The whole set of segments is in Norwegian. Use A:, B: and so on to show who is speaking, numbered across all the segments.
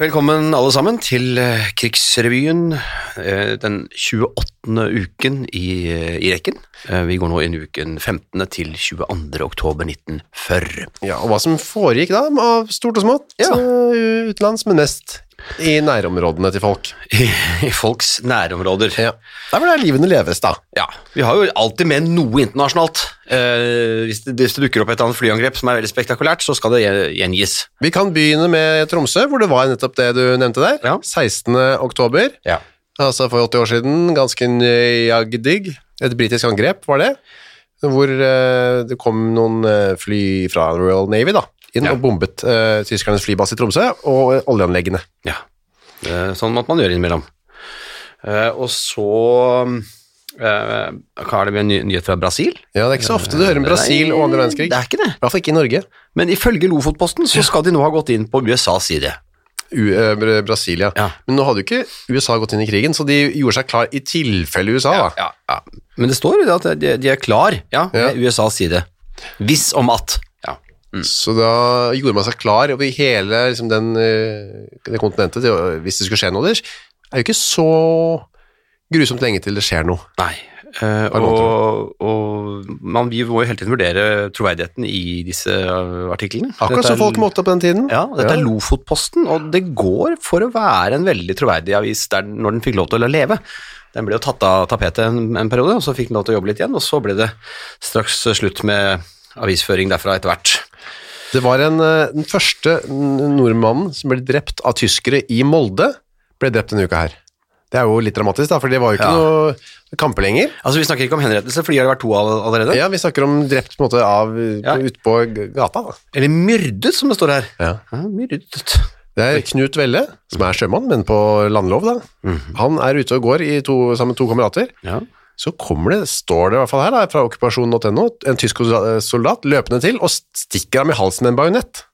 A: Velkommen alle sammen til eh, Krigsrevyen, eh, den 28. uken i, eh, i rekken. Eh, Vi går nå inn i uken 15. til 22. oktober 1940.
B: Ja, og hva som foregikk da, av stort og smått,
A: Ja.
B: eh, utenlands, men mest i nærområdene til folk.
A: I, i folks nærområder. Ja.
B: Det er vel der livene leves, da.
A: Vi har jo alltid med noe internasjonalt. Eh, hvis, det, hvis det dukker opp et eller annet flyangrep som er veldig spektakulært, så skal det gje- gjengis.
B: Vi kan begynne med Tromsø, hvor det var nettopp det du nevnte der.
A: Ja.
B: 16. oktober,
A: Ja.
B: altså for 80 år siden, ganske nøyagdig. Et britisk angrep, var det? Hvor eh, det kom noen eh, fly fra Royal Navy da, inn
A: Ja.
B: og bombet eh, tyskernes flybase i Tromsø og eh, oljeanleggene.
A: Ja, eh, sånn måtte man gjøre innimellom. Eh, og så eh, hva er det med en ny, nyhet fra Brasil?
B: Ja, det er ikke så ofte du hører om Brasil og andre verdenskrig.
A: Det er ikke det.
B: I hvert fall ikke i Norge.
A: Men ifølge Lofotposten så skal de nå ha gått inn på USAs side.
B: U eh, Br- Brasilia.
A: Ja.
B: Men nå hadde jo ikke USA gått inn i krigen, så de gjorde seg klar i tilfelle USA. da.
A: Ah. Men det står jo det at de, de er klar, ja,
B: Ja.
A: med USAs side. Hvis om at. Ja.
B: Så da gjorde man seg klar over hele liksom, den, eh, det kontinentet, til, å- hvis det skulle skje noe der. Det er jo ikke så grusomt lenge til det skjer noe.
A: Nei. Eh,
B: Hva er det
A: og og man, vi må jo hele tiden vurdere troverdigheten i disse eh, artiklene.
B: Akkurat
A: Dette
B: som
A: er-
B: folk måtte på den tiden.
A: Ja, og dette er Lofotposten, og det går for å være en veldig troverdig avis der, den- når den fikk lov til å leve. Den ble jo tatt av tapetet en, en periode, og så fikk den lov til å jobbe litt igjen, og så ble det straks slutt med avisføring derfra etter hvert.
B: Det var en, eh, den første n- nordmannen som ble drept av tyskere i Molde, ble drept denne uka her. Det er jo litt dramatisk, da, for det var jo ikke
A: Ja.
B: noe kamper lenger.
A: Altså, vi snakker ikke om henrettelse, for de har det vært to all- allerede.
B: Ja, vi snakker om drept på en måte av
A: Ja.
B: ute på g- gata. Da.
A: Eller myrdet, som det står her.
B: Ja.
A: Ja, myrdet.
B: Det er Knut Velle, som er sjømann, men på landlov da. Han er ute og går i to, sammen med to kamerater.
A: Ja.
B: Så kommer det, står det i hvert fall her da, fra okkupasjon.no, en tysk soldat løpende til og stikker ham i halsen med en bajonett.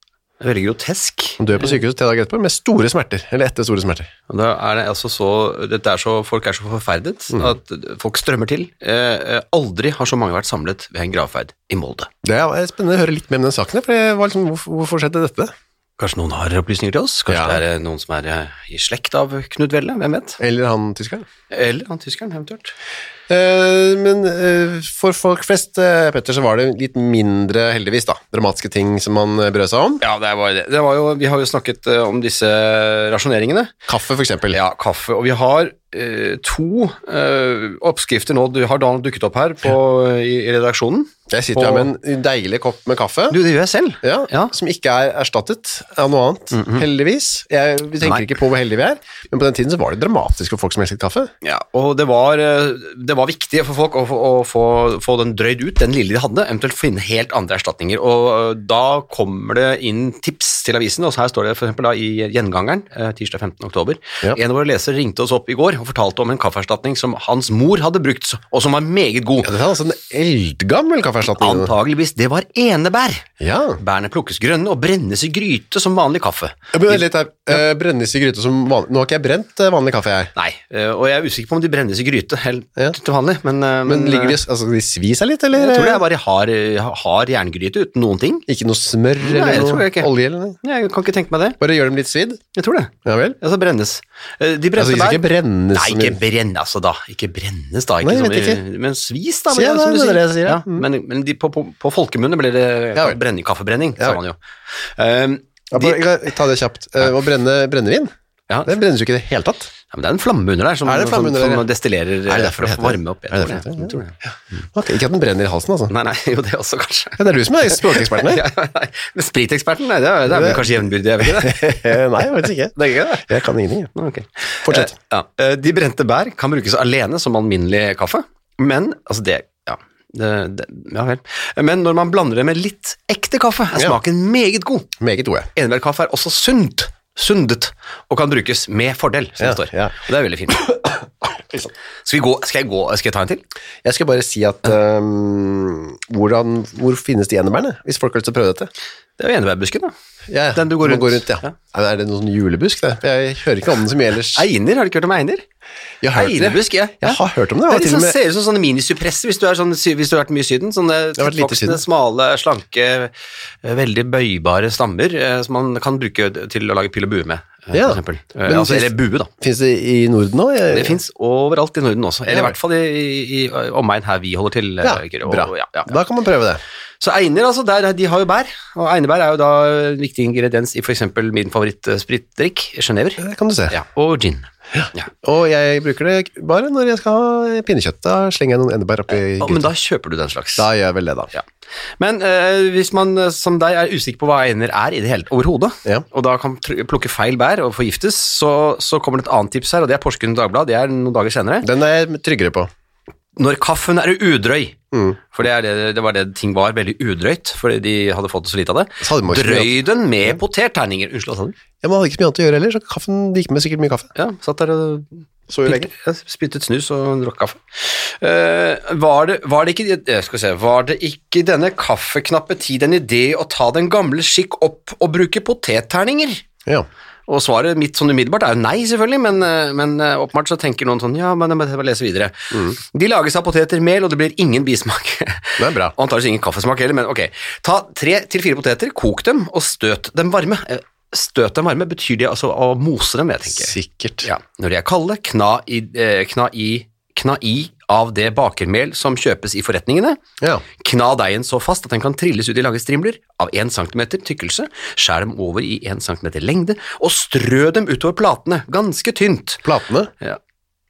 A: Veldig grotesk.
B: Han dør på sykehuset tre dager etterpå med store smerter, eller etter store smerter.
A: Og Da er det altså så, dette er så, folk er så forferdet at folk strømmer til. Eh, eh, aldri har så mange vært samlet ved en gravferd i Molde.
B: Det er spennende å høre litt mer om den saken, her, for det var liksom, hvorfor, hvorfor skjedde dette?
A: Kanskje noen har opplysninger til oss? Kanskje
B: Ja.
A: det er eh, noen som er eh, i slekt av Knut Velle? Hvem vet?
B: Eller han tyskeren?
A: Eller han tyskeren, eventuelt.
B: Eh, men eh, for folk flest, eh, Petter, så var det litt mindre, heldigvis da, dramatiske ting som man eh, brød seg om.
A: Ja, det var jo det. det var jo, vi har jo snakket eh, om disse rasjoneringene.
B: Kaffe for eksempel.
A: Ja, kaffe. Og vi har eh, to eh, oppskrifter nå. Du har da dukket opp her på, eh, i, i redaksjonen.
B: Jeg sitter her med en deilig kopp med kaffe.
A: Du, det gjør jeg selv.
B: ja,
A: Ja. Mhm.
B: Som ikke er erstattet av noe annet, heldigvis. Jeg, vi tenker
A: Nei.
B: ikke på hvor heldige vi er, men på den tiden så var det dramatisk for folk som elsket kaffe.
A: Ja, og det var, eh, det var viktig for folk å, få- å få, få den drøyd ut, den lille de hadde, eventuelt finne helt andre erstatninger. Og eh, da kommer det inn tips til avisen, og så her står det for eksempel da i Gjengangeren, eh, tirsdag 15. oktober.
B: Ja.
A: En av våre lesere ringte oss opp i går og fortalte om en kaffeerstatning som hans mor hadde brukt, og som var meget
B: Ja,
A: god.
B: det er altså en eldgammel kaffeerstatning.
A: Antageligvis det var enebær.
B: Ja.
A: Bærene plukkes grønne og brennes i gryte som vanlig kaffe.
B: Jeg begynner litt her. Eh, Brennes i gryte som vanlig. Nå har ikke jeg brent eh, vanlig kaffe, jeg.
A: Nei, eh, og jeg er usikker på om de brennes i gryte helt
B: Ja.
A: til vanlig, men, eh,
B: Men ligger de,
A: eh,
B: altså, de svir seg litt, eller?
A: jeg tror det er bare hard, eh, hard jerngryte uten noen ting.
B: Ikke noe smør
A: jeg
B: eller
A: tror
B: noe
A: jeg ikke.
B: olje eller noe?
A: Jeg kan ikke tenke meg det.
B: Bare gjør dem litt svidd.
A: Jeg tror det.
B: Ja vel.
A: Altså brennes. Eh, De
B: Altså,
A: brente
B: de skal
A: bær
B: ikke brennes.
A: Nei,
B: så
A: ikke
B: mye.
A: brenne, altså da. Ikke brennes, da. Ikke
B: Nei, jeg
A: som
B: vet
A: i- Men svis, da.
B: Se,
A: vel,
B: det
A: som
B: er
A: du
B: det jeg sier, ja.
A: Ja, men men de, på, på, på folkemunne ble det
B: Ja, vel.
A: brenning, kaffebrenning,
B: Ja,
A: sa man jo. Um,
B: Ja,
A: de,
B: bare, jeg- ta det kjapt. Eh, Å brenne brennevin,
A: ja,
B: det brennes jo ikke i det hele tatt.
A: ja, men det er en flamme under der som,
B: Er det flamme
A: som,
B: under der,
A: som
B: ja?
A: destillerer
B: det
A: eh,
B: derfor
A: for å
B: det heter
A: varme opp.
B: det? Er
A: Jeg
B: det derfor det
A: tror
B: heter det?
A: tror det.
B: Ok, Ikke at den brenner i halsen, altså.
A: Nei, nei, jo det også, kanskje.
B: Ja, det er du som er språkeksperten her.
A: Ja, nei, men Spriteksperten, nei, det er, det er vel kanskje jevnbyrdig, er vi ikke det?
B: Nei, jeg vet ikke.
A: Det er ikke det?
B: Jeg kan ingenting. jeg.
A: Ok.
B: Fortsett.
A: Eh, ja. Eh, De brente bær kan brukes alene som alminnelig kaffe, men altså det, ja, det, det, ja vel. Men når man blander det med litt ekte kaffe, er
B: Ja.
A: smaken meget god.
B: Meget gode.
A: Enebærkaffe er også sunt, sundet, og kan brukes med fordel, som
B: Ja,
A: det står.
B: ja.
A: Og det er veldig fint.
B: Ikke sant.
A: Skal, vi gå, skal, jeg gå, skal jeg ta en til?
B: Jeg skal bare si at ehm, hvordan, hvor finnes de enebærene, hvis folk har lyst til å prøve dette?
A: Det er jo enebærbusken, da.
B: Ja, ja.
A: Den du går
B: Man
A: rundt.
B: ja.
A: Ja.
B: Nei, men Er det noen sånn julebusk, det? For Jeg hører ikke om den så mye ellers.
A: Einer, har du ikke hørt om einer?
B: Jeg har hørt det.
A: Einebusk, ja.
B: Jeg har hørt om det, og
A: Det er litt
B: til og
A: sånn,
B: med-
A: ser ut som sånne minisuppresser hvis, du er sånn, sy- hvis du har vært mye i Syden. Sånne
B: har vært lite i
A: tilvoksende,
B: Syden.
A: smale, slanke, eh, veldig bøybare stammer eh, som man kan bruke til å lage pil og bue med, eh,
B: Ja.
A: for eksempel. Eh,
B: Men
A: Altså,
B: hvis-
A: eller bue, da.
B: Finnes det i Norden nå? Jeg-
A: Det fins overalt i Norden også, eller
B: Ja.
A: i hvert fall i, i, i omegn her vi holder til. eh,
B: Ja,
A: Kyrre, og-
B: bra.
A: Ja, ja.
B: Da kan man prøve det.
A: Så einer, altså, der, de har jo bær, og einebær er jo da en viktig ingrediens i f.eks. min favorittspritdrikk, genever,
B: Det kan du se.
A: ja, og gin. Ja.
B: Og jeg bruker det bare når jeg skal ha pinnekjøtt. Da slenger jeg noen enebær oppi
A: Å,
B: gryta.
A: men da kjøper du den slags.
B: Da gjør jeg vel det, da.
A: Ja. Men eh, hvis man eh, som deg er usikker på hva einer er i det hele overhodet,
B: Ja.
A: og da kan tr plukke feil bær og forgiftes, så, så kommer det et annet tips her, og det er Porsgrunn Dagblad, det er noen dager senere.
B: Den er jeg tryggere på. Mm.
A: Når kaffen er udrøy, for det, er det, det var det ting var, veldig udrøyt, fordi de hadde fått så lite av det.
B: Så hadde man ikke så mye
A: Drøy den med potetterninger. Unnskyld, hva sa du?
B: Ja, Man hadde ikke så mye annet å gjøre heller, så kaffen, det gikk med sikkert mye kaffe.
A: Ja, satt der og
B: Så jo lenge.
A: Jeg spyttet snus og drakk kaffe. Eh, var, det, var, det ikke, jeg skal se, var det ikke denne kaffeknappe tid en idé å ta den gamle skikk opp og bruke potetterninger?
B: Ja.
A: Og svaret mitt sånn umiddelbart er jo nei, selvfølgelig, men, eh, men eh, åpenbart så tenker noen sånn ja, men jeg må jeg må lese videre. De lages av poteter, mel, og det blir ingen bismak.
B: Det er bra.
A: Og antakeligvis ingen kaffesmak heller, men ok. Ta tre til fire poteter, kok dem og støt dem varme. Eh, Støt dem varme, betyr det altså å mose dem, jeg tenker.
B: Sikkert.
A: Ja, når de er kalde, kna i, eh, kna i, kna i av det bakermel som kjøpes i forretningene.
B: Ja.
A: Kna deigen så fast at den kan trilles ut i lange strimler av 1 cm tykkelse, skjær dem over i 1 cm lengde og strø dem utover platene, ganske tynt.
B: Platene?
A: Ja.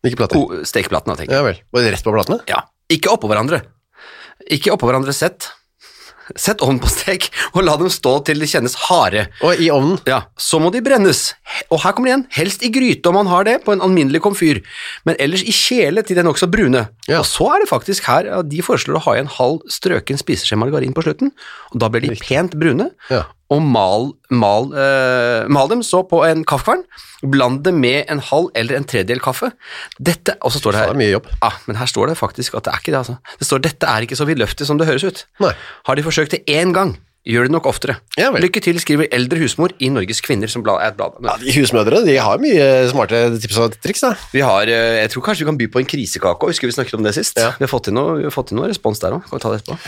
B: Ikke plater.
A: Ko- Stekeplatene, tenker jeg.
B: Ja vel. Var det rett på platene?
A: Ja. Ikke oppå hverandre. Ikke oppå hverandre sett. Sett ovnen på stek og la dem stå til de kjennes harde.
B: Og i ovnen?
A: Ja, så må de brennes. Og her kommer det igjen, helst i gryte om man har det, på en alminnelig komfyr, men ellers i kjele til de er nokså brune.
B: Ja.
A: Og så er det faktisk her at de foreslår å ha i en halv strøken spiseskje margarin på slutten, og da blir de pent brune.
B: Ja.
A: Og mal, mal, eh, mal dem så på en kaffekvern, bland det med en halv eller en tredjedel kaffe. Dette, og så står det
B: Det er
A: her,
B: mye jobb.
A: ja, Ah, men her står det faktisk at det er ikke det, altså. Det står dette er ikke så vidløftig som det høres ut.
B: Nei.
A: Har de forsøkt det én gang, gjør det nok oftere.
B: Ja vel.
A: Lykke til, skriver eldre husmor i Norges Kvinner, som blad, er et blad.
B: Ja, de Husmødre de har mye smarte tips og triks, da.
A: Vi har, eh, jeg tror kanskje vi kan by på en krisekake òg, husker vi snakket om det sist?
B: Ja. Eh,
A: Vi har fått inn noe, vi har fått inn noe respons der òg, kan vi ta det etterpå?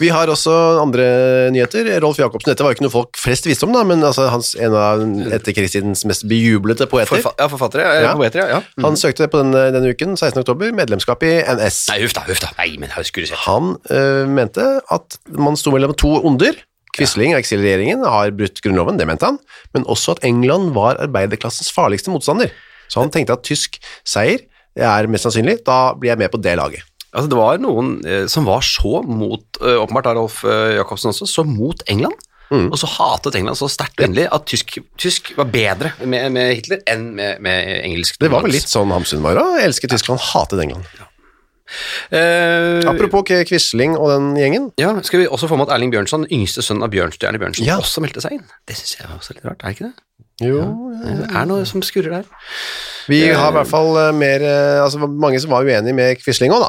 B: Vi har også andre nyheter. Rolf Jacobsen, dette var jo ikke noe folk flest visste om, da, men altså, hans, en av etterkrigstidens mest bejublete poeter.
A: Forfa ja, forfattere, ja.
B: Ja.
A: poeter, ja. ja.
B: Han søkte på denne, denne uken, 16. oktober, medlemskap i NS.
A: Nei, huff da, huff da. Nei, men her skulle du sett.
B: Han øh, mente at man sto mellom to onder. Quisling og eksilregjeringen har brutt grunnloven, det mente han, men også at England var arbeiderklassens farligste motstander. Så han tenkte at tysk seier er mest sannsynlig, da blir jeg med på det laget.
A: Altså, det var noen eh, som var så mot, eh, åpenbart av Rolf eh, Jacobsen også, så mot England.
B: Mm.
A: Og så hatet England så sterkt endelig at tysk, tysk var bedre med, med Hitler enn med, med engelsk.
B: Det var vel litt sånn Hamsun var òg. Elsket Tyskland, hatet England.
A: Eh,
B: Apropos K- Quisling og den gjengen.
A: Ja, Skal vi også få med at Erling Bjørnson, yngste sønn av Bjørnstjerne Bjørnson,
B: Ja.
A: også meldte seg inn? Det syns jeg er også litt rart, er det ikke det?
B: Jo,
A: Det er noe som skurrer der.
B: Vi har i hvert fall eh, mer eh, Altså mange som var uenige med Quisling òg, da.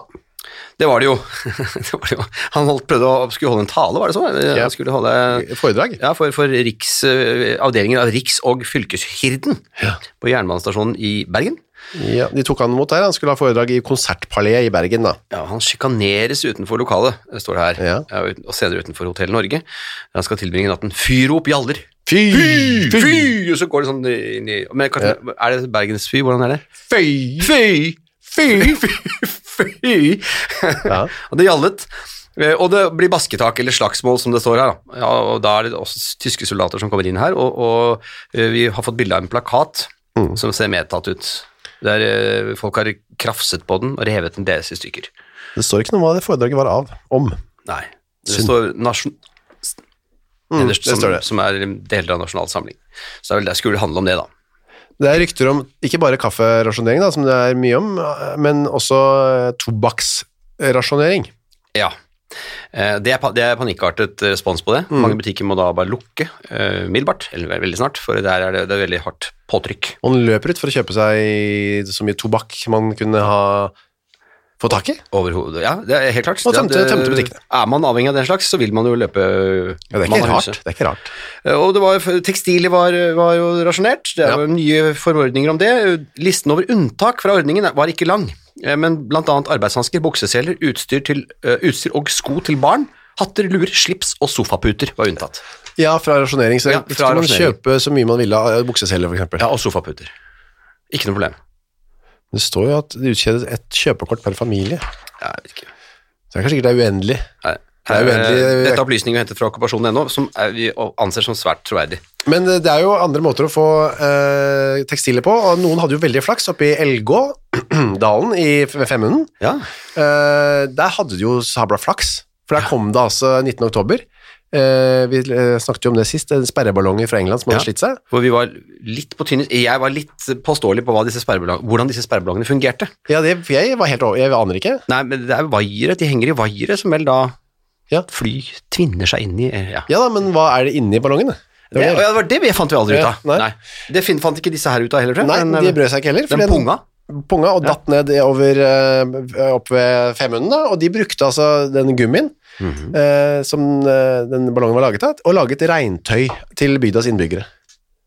A: Det var det jo. det var det jo. Han holdt, prøvde å skulle holde en tale, var det sånn?
B: Ja.
A: Han skulle holde
B: Foredrag.
A: Ja, for, for riks, eh, avdelingen av Riks- og fylkeshirden på jernbanestasjonen i Bergen.
B: Ja, de tok han mot der. Han skulle ha foredrag i Konsertpaléet i Bergen, da.
A: Ja, Han sjikaneres utenfor lokalet, eh, står det her,
B: Ja.
A: og uten- og senere utenfor Hotell Norge. Han skal tilbringe natten. Fyrop gjaller!
B: Fy!
A: Fy! Og så går det sånn inn i Men kanskje, Er det bergensfy? Hvordan er det?
B: Fy!
A: Fy! Fy! Fy!
B: Ja.
A: Og det gjallet. Eh, Og det blir basketak eller slagsmål, som det står her. Da. Ja, og da er det også tyske soldater som kommer inn her, og, og eh, vi har fått bilde av en plakat
B: Mm.
A: som ser medtatt ut. Der eh, folk har krafset på den og revet den deres i stykker.
B: Det står ikke noe om hva det foredraget var av. Om.
A: Nei. Det
B: Synd.
A: står nasjon...
B: Mm,
A: nederst,
B: det
A: som,
B: står det.
A: som er deler av Nasjonal Samling. Så det er vel det skulle handle om det, da.
B: Det er rykter om ikke bare kafferasjonering, da, som det er mye om, eh, men også eh, tobakksrasjonering.
A: Ja. Eh, Det er, pa- det er panikkartet eh, respons på det.
B: Mm.
A: Mange butikker må da bare lukke eh, umiddelbart, eller ve- veldig snart, for der er det, det er veldig hardt påtrykk.
B: Og han løper ut for å kjøpe seg så mye tobakk man kunne ha fått tak i.
A: Overhodet, ja, det er helt klart.
B: Og tømte-
A: Ja, det-
B: tømte butikkene.
A: Er man avhengig av den slags, så vil man jo løpe
B: Ja, det er
A: man
B: ikke
A: har
B: rart.
A: huset.
B: Det er ikke rart.
A: Eh, Og det var, tekstiler var, var jo rasjonert, det er jo nye forordninger om det. Listen over unntak fra ordningen var ikke lang, eh, men blant annet arbeidshansker, bukseseler, utstyr, til, eh, utstyr og sko til barn, hatter, luer, slips og sofaputer var unntatt.
B: Ja, fra rasjonering. Så
A: Ja,
B: ikke
A: fra
B: man
A: rasjonering.
B: kjøpe så mye man ville av bukseseller, for eksempel.
A: Ja, og sofaputer. Ikke noe problem.
B: Det står jo at det utskjedes et kjøpekort per familie.
A: Ja, Jeg vet ikke.
B: Så det er kanskje ikke det er uendelig.
A: Nei.
B: Det er uendelig-
A: Eh, Dette er opplysninger hentet fra okkupasjonen.no, som er, vi anser som svært troverdig.
B: Men eh, det er jo andre måter å få eh, tekstiler på, og noen hadde jo veldig flaks oppe i Elgå, dalen i F- Femunden.
A: Ja,
B: Eh, der hadde de jo sabla flaks, for der kom det altså 19. oktober. Eh, vi eh, snakket jo om det sist, en sperreballong fra England som hadde
A: Ja.
B: slitt seg.
A: hvor vi var litt på tynn Jeg var litt påståelig på hva disse sperreballong- hvordan disse sperreballongene fungerte.
B: Ja, det, for jeg var helt over, jeg aner ikke.
A: Nei, men det er vaiere, de henger i vaiere som vel da
B: Ja.
A: fly tvinner seg inn i Eh, ja.
B: Ja da, men hva er det inni ballongen? da?
A: Det,
B: Det var
A: ja, det var det vi fant vi aldri ut av.
B: Ja, nei.
A: nei. Det fin, fant ikke disse her ut av heller,
B: det.
A: tror
B: Nei,
A: jeg.
B: de brød seg ikke heller. fordi
A: eh, den punga.
B: punga og datt ned over, eh, opp ved Femunden, da, og de brukte altså den gummien eh, som eh, den ballongen var laget av, og laget regntøy til bygdas innbyggere.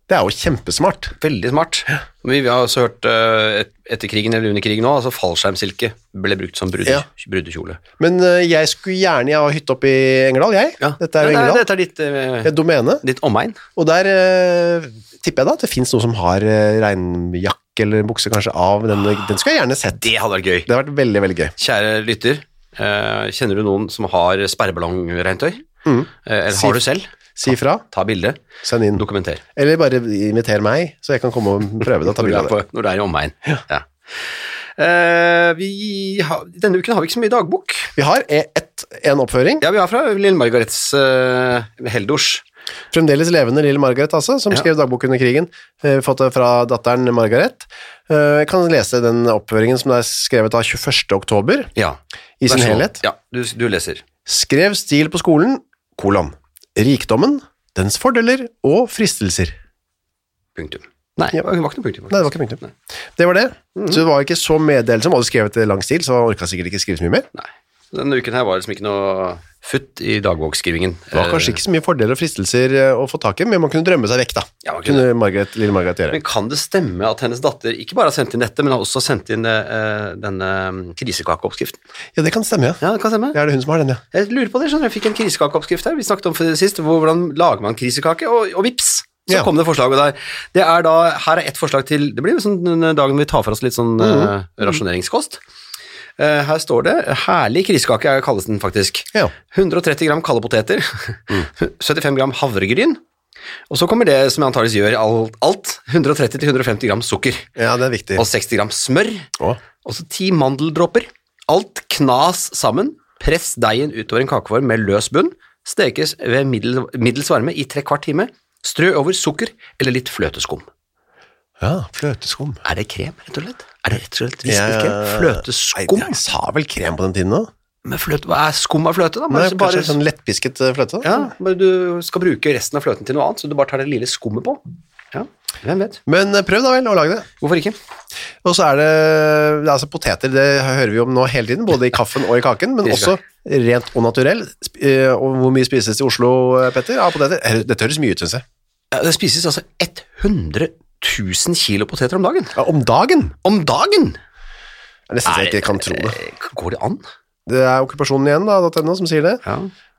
B: Det er jo kjempesmart.
A: Veldig smart. Vi, vi har også hørt eh, et, etter krigen eller under krigen nå, altså fallskjermsilke ble brukt som brude,
B: Ja.
A: brudekjole.
B: Men eh, jeg skulle gjerne ha hytte oppe i Engerdal, jeg.
A: Ja.
B: Dette er
A: Nei,
B: jo
A: nei,
B: Engerdal.
A: Dette er ditt, eh,
B: Det er domene.
A: ditt omegn.
B: Og der eh, tipper jeg da at det finnes noen som har eh, regnjakke eller bukse kanskje av den. Den skulle jeg gjerne sett.
A: Det hadde vært gøy.
B: Det har vært veldig, veldig gøy.
A: Kjære lytter, eh, kjenner du noen som har sperreballongregntøy?
B: Mhm.
A: Eh, eller
B: Si- Mm.
A: har du selv?
B: Si ifra,
A: Ta bilde,
B: send inn.
A: dokumenter.
B: Eller bare inviter meg, så jeg kan komme og prøve det og ta
A: når du
B: bilde
A: er,
B: av det.
A: på, når du er i omegn. Ja. Eh, vi har, denne uken har vi ikke så mye dagbok.
B: Vi har e- ett, en oppføring.
A: Ja, vi har fra Lille Margarets eh, Heldors.
B: Fremdeles levende lille Margaret, altså, som
A: Ja.
B: skrev dagbok under krigen. Eh, Fått det fra datteren Margaret. Eh, Jeg kan lese den oppføringen som er skrevet av 21. oktober
A: Ja.
B: i
A: Vær
B: sin
A: så god.
B: helhet.
A: Ja, du, du leser.
B: Skrev stil på skolen, kolon. Rikdommen, dens fordeler og fristelser.
A: Punktum. Nei,
B: Ja.
A: det var ikke noe punktum.
B: Nei, det var ikke punktum. Det var det.
A: Mhm.
B: Så det var ikke så meddelsom. Hadde du skrevet det i lang stil, så orka sikkert ikke skrive så mye mer.
A: Nei. Denne uken her var liksom ikke noe futt i dagbokskrivingen.
B: Det var kanskje ikke så mye fordeler og fristelser eh, å få tak i, men man kunne drømme seg vekk, da.
A: Ja, man kunne
B: kunne Margaret, lille Margaret gjøre.
A: Men kan det stemme at hennes datter ikke bare har sendt inn dette, men har også sendt inn eh, denne eh, krisekakeoppskriften?
B: Ja, det kan stemme, ja.
A: Ja, det kan stemme.
B: Ja, er det hun som har den, ja.
A: Jeg lurer på det, skjønner du. Jeg fikk en krisekakeoppskrift her. Vi snakket om for det sist, hvor- hvordan lager man krisekake, og, og vips, så
B: Ja.
A: kom det forslaget der. Det er da, her er ett forslag til, det blir jo sånn den dagen vi tar for oss litt sånn eh, rasjoneringskost. Eh, her står det, herlig krisekake er- kalles den faktisk.
B: Ja.
A: 130 gram kalde poteter,
B: Mm.
A: 75 gram havregryn, og så kommer det som jeg antageligvis gjør alt, alt 130-150 gram sukker,
B: Ja, det er viktig.
A: og 60 gram smør,
B: Å.
A: og så ti mandeldråper. Alt knas sammen. Press deigen utover en kakeform med løs bunn. Stekes ved middel, middels varme i tre kvart time. Strø over sukker eller litt fløteskum.
B: Ja, fløteskum.
A: Er det krem, rett og slett? Er det rett og slett
B: Ja,
A: visket
B: ja,
A: krem?
B: ja.
A: Fløteskum?
B: Nei, jeg sa vel krem på den tiden òg?
A: Men fløte, hva er skum av fløte, da? Bare,
B: Nei,
A: så
B: bare
A: bare,
B: sånn lettpisket eh, fløte. da.
A: ja, bare du skal bruke resten av fløten til noe annet, så du bare tar det lille skummet på. Ja, hvem vet?
B: Men eh, prøv da vel å lage det.
A: Hvorfor ikke?
B: Og så er det, det er altså poteter, det hører vi om nå hele tiden, både i kaffen og i kaken, men også rent og naturell. Sp- eh, Og hvor mye spises i Oslo, eh, Petter, av poteter? Eh, Dette høres mye ut, synes jeg.
A: Ja, Det spises altså 100 000 kilo poteter om dagen.
B: Ja, om dagen?
A: Om dagen!
B: Det er nesten så
A: Er-
B: jeg ikke kan tro det.
A: eh, Går det an?
B: Det er okkupasjonen igjen, da, .no, som sier det.
A: Ja.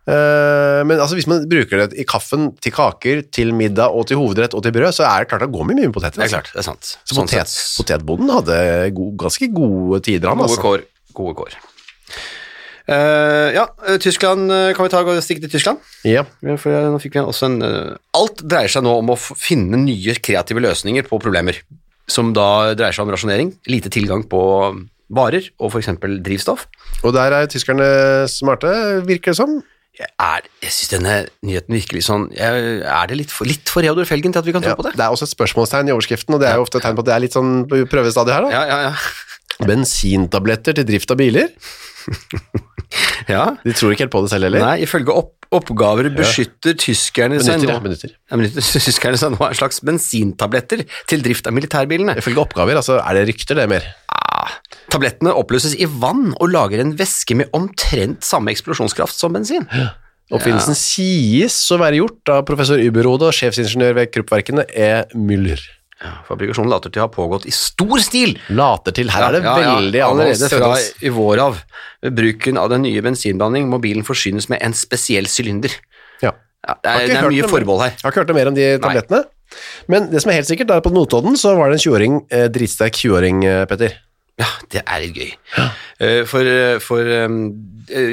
B: Eh, Men altså, hvis man bruker det i kaffen, til kaker, til middag og til hovedrett og til brød, så er det klart det går mye mye med poteter.
A: Det er
B: altså.
A: klart, det er sant. Sånn
B: Så potet,
A: sett,
B: potetbonden hadde go- ganske gode tider, han,
A: gode
B: altså.
A: kår. Gode kår. Eh, ja, eh, Tyskland eh, kan vi ta og stikke til Tyskland.
B: Ja.
A: Ja, For eh, nå fikk vi også en eh, Alt dreier seg nå om å f- finne nye kreative løsninger på problemer, som da dreier seg om rasjonering, lite tilgang på mm, varer og f.eks. drivstoff.
B: Og der er tyskerne smarte, virker det som.
A: Jeg, er- jeg syns denne nyheten virkelig sånn jeg, Er det litt for, litt for Reodor Felgen til at vi kan tro
B: Ja,
A: på det?
B: det er også et spørsmålstegn i overskriften, og det er jo ofte et tegn på at det er litt sånn på prøvestadiet her. da.
A: Ja, ja, ja.
B: Bensintabletter til drift av biler.
A: Ja.
B: De tror ikke helt på det selv heller.
A: Nei, ifølge opp oppgaver beskytter tyskerne seg
B: Benytter,
A: nå
B: ja, benytter.
A: Ja, men tyskerne seg nå er en slags bensintabletter til drift av militærbilene.
B: Ifølge oppgaver, altså, er det rykter det mer?
A: Ah, tablettene oppløses i vann og lager en væske med omtrent samme eksplosjonskraft som bensin.
B: Oppfinnelsen sies å være gjort av professor Uberode og sjefsingeniør ved Kruppverkene E. Müller.
A: Fabrikasjonen later til å ha pågått i stor stil.
B: Later til. Her er det
A: Ja, ja, ja,
B: veldig
A: Allerede
B: annerledes.
A: fra i vår av. Ved bruken av den nye bensinblanding må bilen forsynes med en spesiell sylinder.
B: Ja.
A: Ja, det
B: Har
A: er,
B: ikke
A: det er
B: hørt
A: mye
B: noe mer.
A: forbehold her.
B: Jeg har ikke hørt noe mer om de tablettene. Men det som er helt sikkert, er at på Notodden så var det en 20-åring, eh, dritsterk 20-åring, eh, Petter.
A: Ja, det er litt gøy. Eh, For, eh, for eh,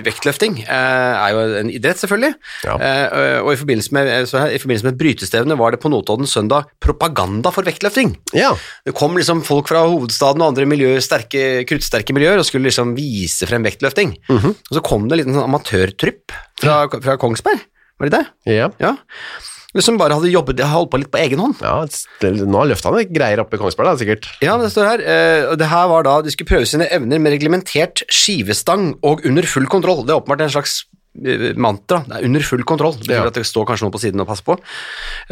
A: vektløfting eh, er jo en idrett, selvfølgelig.
B: Ja.
A: Eh, Og i forbindelse, med, eh, så her, i forbindelse med brytestevnet var det på Notodden søndag propaganda for vektløfting.
B: Ja.
A: Det kom liksom folk fra hovedstaden og andre miljøer, sterke, kruttsterke miljøer og skulle liksom vise frem vektløfting. Og så kom det en liten sånn amatørtrypp fra, fra Kongsberg, var det det?
B: Ja.
A: Ja. Som bare hadde jobbet, holdt på litt på egen hånd.
B: ja det, nå har løfta han greier oppe i Kongsberg, da, sikkert.
A: Ja, men det står her. eh, og det her var da de skulle prøve sine evner med reglementert skivestang og under full kontroll. Det er åpenbart en slags eh, mantra. Det er under full kontroll. Det betyr
B: Ja.
A: at det står kanskje noen på siden og passer på.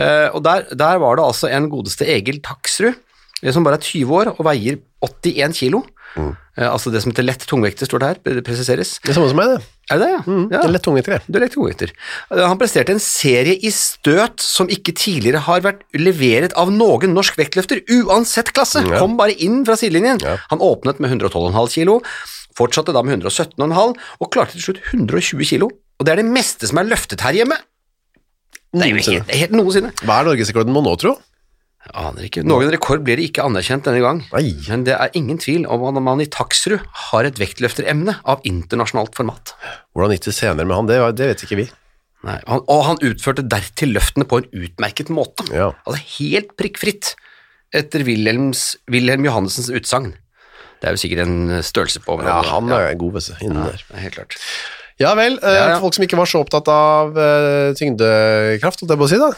A: Eh, og der, der var det altså en godeste Egil Taksrud, eh, som bare er 20 år og veier 81 kilo. Eh, altså det som heter lett tungvekter, står det her, det presiseres.
B: Det er samme som meg, det.
A: Er det det, ja?
B: Det er lett tungvint, det.
A: Du er elektrometer. Han presterte en serie i støt som ikke tidligere har vært leveret av noen norsk vektløfter, uansett klasse.
B: Ja.
A: Kom bare inn fra sidelinjen. Han åpnet med 112,5 kilo, fortsatte da med 117,5 og klarte til slutt 120 kilo. Og det er det meste som er løftet her hjemme. Det er jo
B: Noensinne.
A: helt, det er helt noensinne.
B: Hva er norgesrekorden må nå, tro?
A: Jeg Aner ikke. Noen rekord blir det ikke anerkjent denne gang.
B: Nei.
A: Men det er ingen tvil om at man i Taksrud har et vektløfteremne av internasjonalt format.
B: Hvordan gikk det senere med han, det, var- det vet ikke vi.
A: Nei, han, og han utførte dertil løftene på en utmerket måte.
B: Ja.
A: Altså helt prikkfritt etter Wilhelms, Wilhelm Johannessens utsagn. Det er jo sikkert en størrelse på
B: Ja,
A: hverandre.
B: han er god, vet du. Innen der.
A: Ja, helt klart.
B: Ja vel, eh,
A: Ja, ja.
B: folk som ikke var så opptatt av eh, tyngdekraft, holdt jeg på å si da.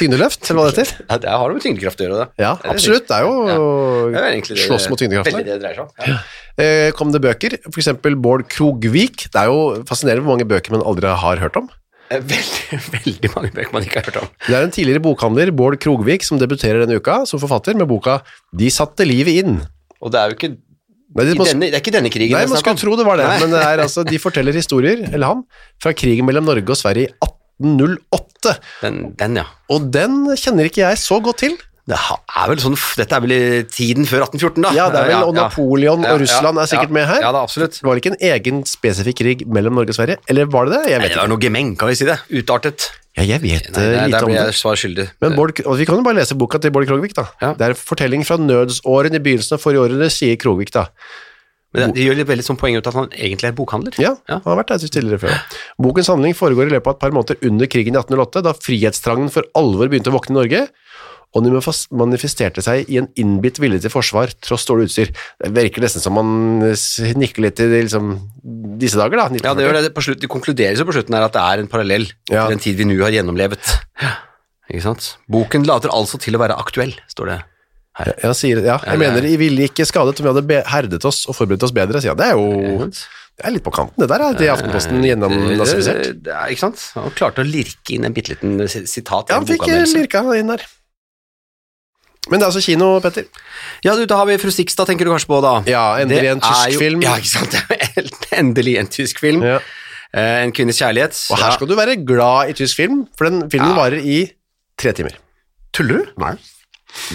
B: Tyngdeløft, eller hva det heter.
A: Ja, det har noe med tyngdekraft å gjøre, det.
B: Ja,
A: Det er
B: absolutt, det er jo
A: Det er jo egentlig det,
B: slåss mot tyngdekraften.
A: Veldig det det dreier seg om. Ja.
B: Eh, kom det bøker, for eksempel Bård Krogvik. Det er jo fascinerende hvor mange bøker man aldri har hørt om.
A: Eh, Veldig, veldig mange bøker man ikke har hørt om.
B: Det er en tidligere bokhandler, Bård Krogvik, som debuterer denne uka som forfatter med boka De satte livet inn.
A: Og det er jo ikke,
B: Nei, det,
A: i denne, det er ikke denne krigen
B: nei
A: det er
B: man
A: snakk om.
B: skulle tro det var det, men det er altså, de forteller historier, eller han, fra krigen mellom Norge og Sverige i 1808.
A: Den, den, ja.
B: Og den kjenner ikke jeg så godt til.
A: Det ha- er vel sånn, dette er vel i tiden før 1814, da?
B: Ja, det er vel, og
A: ja.
B: Napoleon
A: Ja, ja,
B: og Russland er sikkert
A: ja.
B: med her.
A: Ja, da, absolutt.
B: Det var ikke en egen spesifikk krig mellom Norge og Sverige, eller var det det? Jeg
A: Nei,
B: vet
A: det var
B: ikke.
A: noe gemeng, kan vi si det. Utartet.
B: Ja, jeg vet
A: Nei,
B: eh,
A: der,
B: lite
A: der
B: om
A: blir
B: det.
A: jeg svar skyldig.
B: Men Bård, og vi kan jo bare lese boka til Bård Krogvik, da.
A: Ja.
B: Det er en fortelling fra nødsårene i begynnelsen av forrige århundre, sier Krogvik, da.
A: Men det, det gjør litt veldig sånn poeng ut at han egentlig er bokhandler.
B: Ja,
A: Ja.
B: han har vært der tidligere før. Bokens handling foregår i løpet av et par måneder under krigen i 1808, da frihetstrangen for alvor begynte å våkne i Norge, og den manifes- manifesterte seg i en innbitt vilje til forsvar, tross dårlig utstyr. Det virker nesten som man s- nikker litt til det, liksom, disse dager, da.
A: Ja, det gjør det. På slutt, det konkluderes jo på slutten her at det er en parallell
B: Ja.
A: til den tid vi nå har gjennomlevet. Ikke sant? Boken later altså til å være aktuell, står det.
B: Ja, sier, ja,
A: det er-
B: jeg mener, vi ville ikke skadet om vi hadde be- herdet oss og forberedt oss bedre, sier han. Det er jo det er litt på kanten, det der er det Aftenposten gjennomnazifisert.
A: Eh, Det- det er- Ikke sant? Han klarte å lirke inn en bitte liten eh, si- sitat. i
B: Ja,
A: en
B: han fikk eh,
A: bokanmeldelse.
B: lirka inn der. Men det er altså kino, Petter.
A: Ja, du, da har vi Fru Sikstad, tenker du kanskje på da.
B: Ja, endelig
A: Det
B: en
A: er
B: tysk
A: jo,
B: film.
A: Ja, ikke sant. Det er helt- Endelig en tysk film.
B: Ja.
A: Eh, En kvinnes kjærlighet.
B: Og her skal du være glad i tysk film, for den filmen
A: Ja.
B: varer i tre timer.
A: Tuller du? Nei.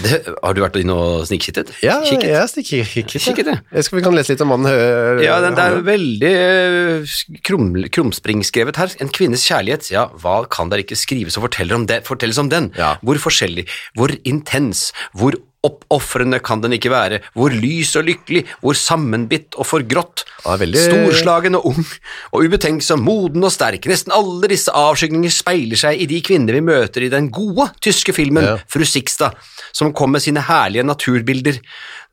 A: Det, har du vært inne og snikkittet?
B: Ja,
A: Kikket?
B: jeg stikker kikket.
A: Kikket, ja.
B: Jeg skal, vi kan lese litt om mannen. hø-
A: Ja, den, det er
B: han-
A: veldig eh, krum, krumspringskrevet her. En kvinnes kjærlighet, ja, hva kan der ikke skrives og fortelles om, det, fortelles om den?
B: Ja.
A: Hvor forskjellig, hvor intens, hvor oppofrende kan den ikke være, hvor lys og lykkelig, hvor sammenbitt og forgrått,
B: Ja, veldig-
A: storslagen og ung, og ubetenksom, moden og sterk. Nesten alle disse avskygninger speiler seg i de kvinner vi møter i den gode tyske filmen
B: Ja.
A: Fru Sikstad, som kom med sine herlige naturbilder,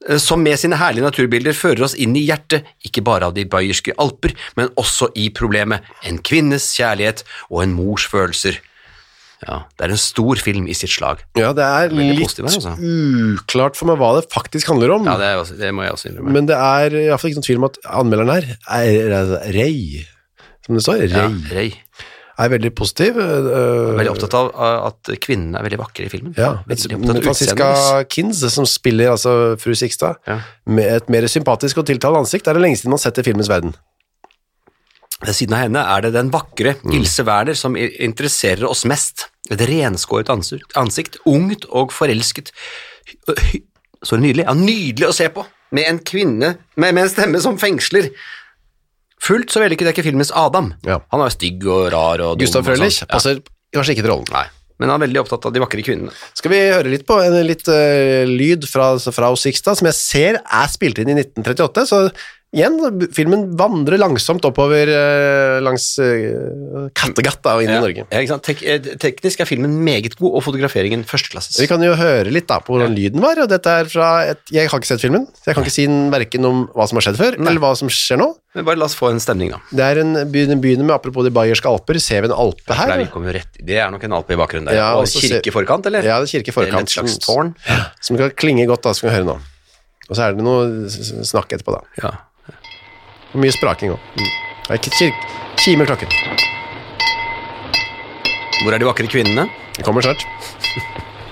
A: eh, som med sine herlige naturbilder fører oss inn i hjertet, ikke bare av de bayerske alper, men også i problemet, en kvinnes kjærlighet og en mors følelser. Ja, det er en stor film i sitt slag.
B: Ja, det er
A: Veldig
B: litt
A: positiv her, altså.
B: uklart for meg hva det faktisk handler om.
A: Ja, det, er også, det må jeg også innrømme.
B: Men det er i hvert fall ikke noen tvil om at anmelderen her er Rey, som det står,
A: Ja,
B: Rey,
A: Rey.
B: er veldig positiv. eh,
A: Veldig opptatt av uh, at kvinnene er veldig vakre i filmen.
B: Ja, Altså,
A: veldig opptatt av utseendet.
B: Franziska Kinz, som spiller altså fru Sikstad,
A: Ja.
B: med et mer sympatisk og tiltalende ansikt, er det lenge siden man har sett i filmens verden.
A: Ved siden av henne er det den vakre
B: Mm.
A: Ilse Werner som i- interesserer oss mest. Et renskåret ansikt, ansikt ungt og forelsket. Hy- hy- Så nydelig. Ja, nydelig å se på! Med en kvinne med, med en stemme som fengsler. Fullt så vellykket er ikke filmens Adam.
B: Ja.
A: Han er jo stygg og rar og dum.
B: Gustav
A: og sånn.
B: Frølich passer kanskje ikke til rollen.
A: Nei, men han er veldig opptatt av de vakre kvinnene.
B: Skal vi høre litt på en litt eh, lyd fra, fra Sikstad, som jeg ser er spilt inn i 1938, så igjen, filmen vandrer langsomt oppover eh, langs eh, Kattegat da, og inn i Norge.
A: Ja, ikke sant? Tek eh, teknisk er filmen meget god, og fotograferingen førsteklasses.
B: Vi kan jo høre litt da på hvordan lyden var, og dette er fra et, jeg har ikke sett filmen, så jeg kan ikke si verken om hva som har skjedd før, eller hva som skjer nå.
A: Men bare la oss få en stemning, da.
B: Det er en, begynner begynner med, apropos de bayerske alper, ser vi en alpe
A: For
B: her?
A: der, vi kommer jo rett, det er nok en alpe i bakgrunnen der.
B: Ja,
A: og
B: og så ser-
A: kirke i forkant, eller?
B: Ja, det er kirke i
A: Eller
B: forkant.
A: et slags
B: som-
A: tårn.
B: Som kan klinge godt da, skal vi høre nå. Og så er det noe s- s- snakk etterpå da.
A: Ja.
B: Og mye spraking òg. Det er ikke kirke Kime klokken.
A: Hvor er de vakre kvinnene?
B: Det kommer snart.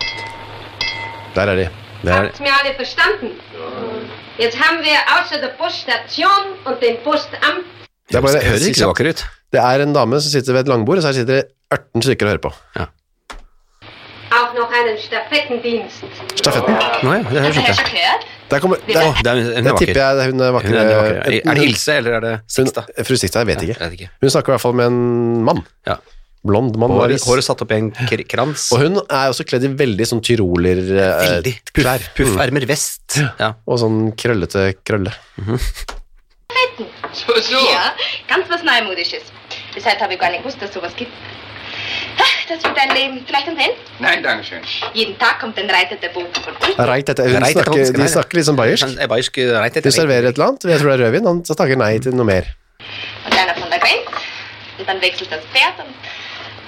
B: Der er de. Det er
C: Habt mir alle verstanden? Jetzt haben wir außer der Poststation und dem Postamt
B: Det er bare-
A: Høres- høres ikke så vakre ut.
B: Det er en dame som sitter ved et langbord, og så her sitter det 18 stykker og hører på.
A: Ja.
C: auch noch einen Stafettendienst.
B: Stafetten.
A: Nå ja, det høres ikke.
C: gehört?
B: Der kommer der,
A: Å, det er, hun
B: Der
A: er
B: tipper
A: vakker.
B: jeg det er hun
A: Hun
B: er
A: er, vakker.
B: vakre
A: Er- er det Ilse, eller er det Sixta?
B: Hun- Fru Sikstad, jeg vet
A: Jeg
B: ikke.
A: vet ikke.
B: Hun snakker i hvert fall med en mann.
A: Ja.
B: Blond mann.
A: Håret,
B: avis.
A: håret satt opp i en kr- krans.
B: Og hun er også kledd i veldig sånn tyroler eh,
A: Veldig.
B: klær.
A: Puff, puffermer vest. Ja.
B: Og sånn krøllete krølle.
D: So, so.
E: Ja, ganz was Neumodisches. Deshalb habe ich gar nicht gewusst, dass sowas gibt. Ha, Das wird dein Leben. Vielleicht ein Pen?
D: Nein, Dankeschön.
E: Jeden Tag kommt ein Reiter der Bogen von unten.
B: Reit etter, hun
A: Reit etter
B: snakker,
A: fransk,
B: de
A: nei.
B: snakker litt sånn bayersk.
A: Han er bayersk, eh, rett
B: Du
A: etter.
B: serverer et eller annet, jeg tror det er rødvin, han snakker nei til noe mer.
E: Und einer von der Grenze. Und dann wechselt das Pferd und,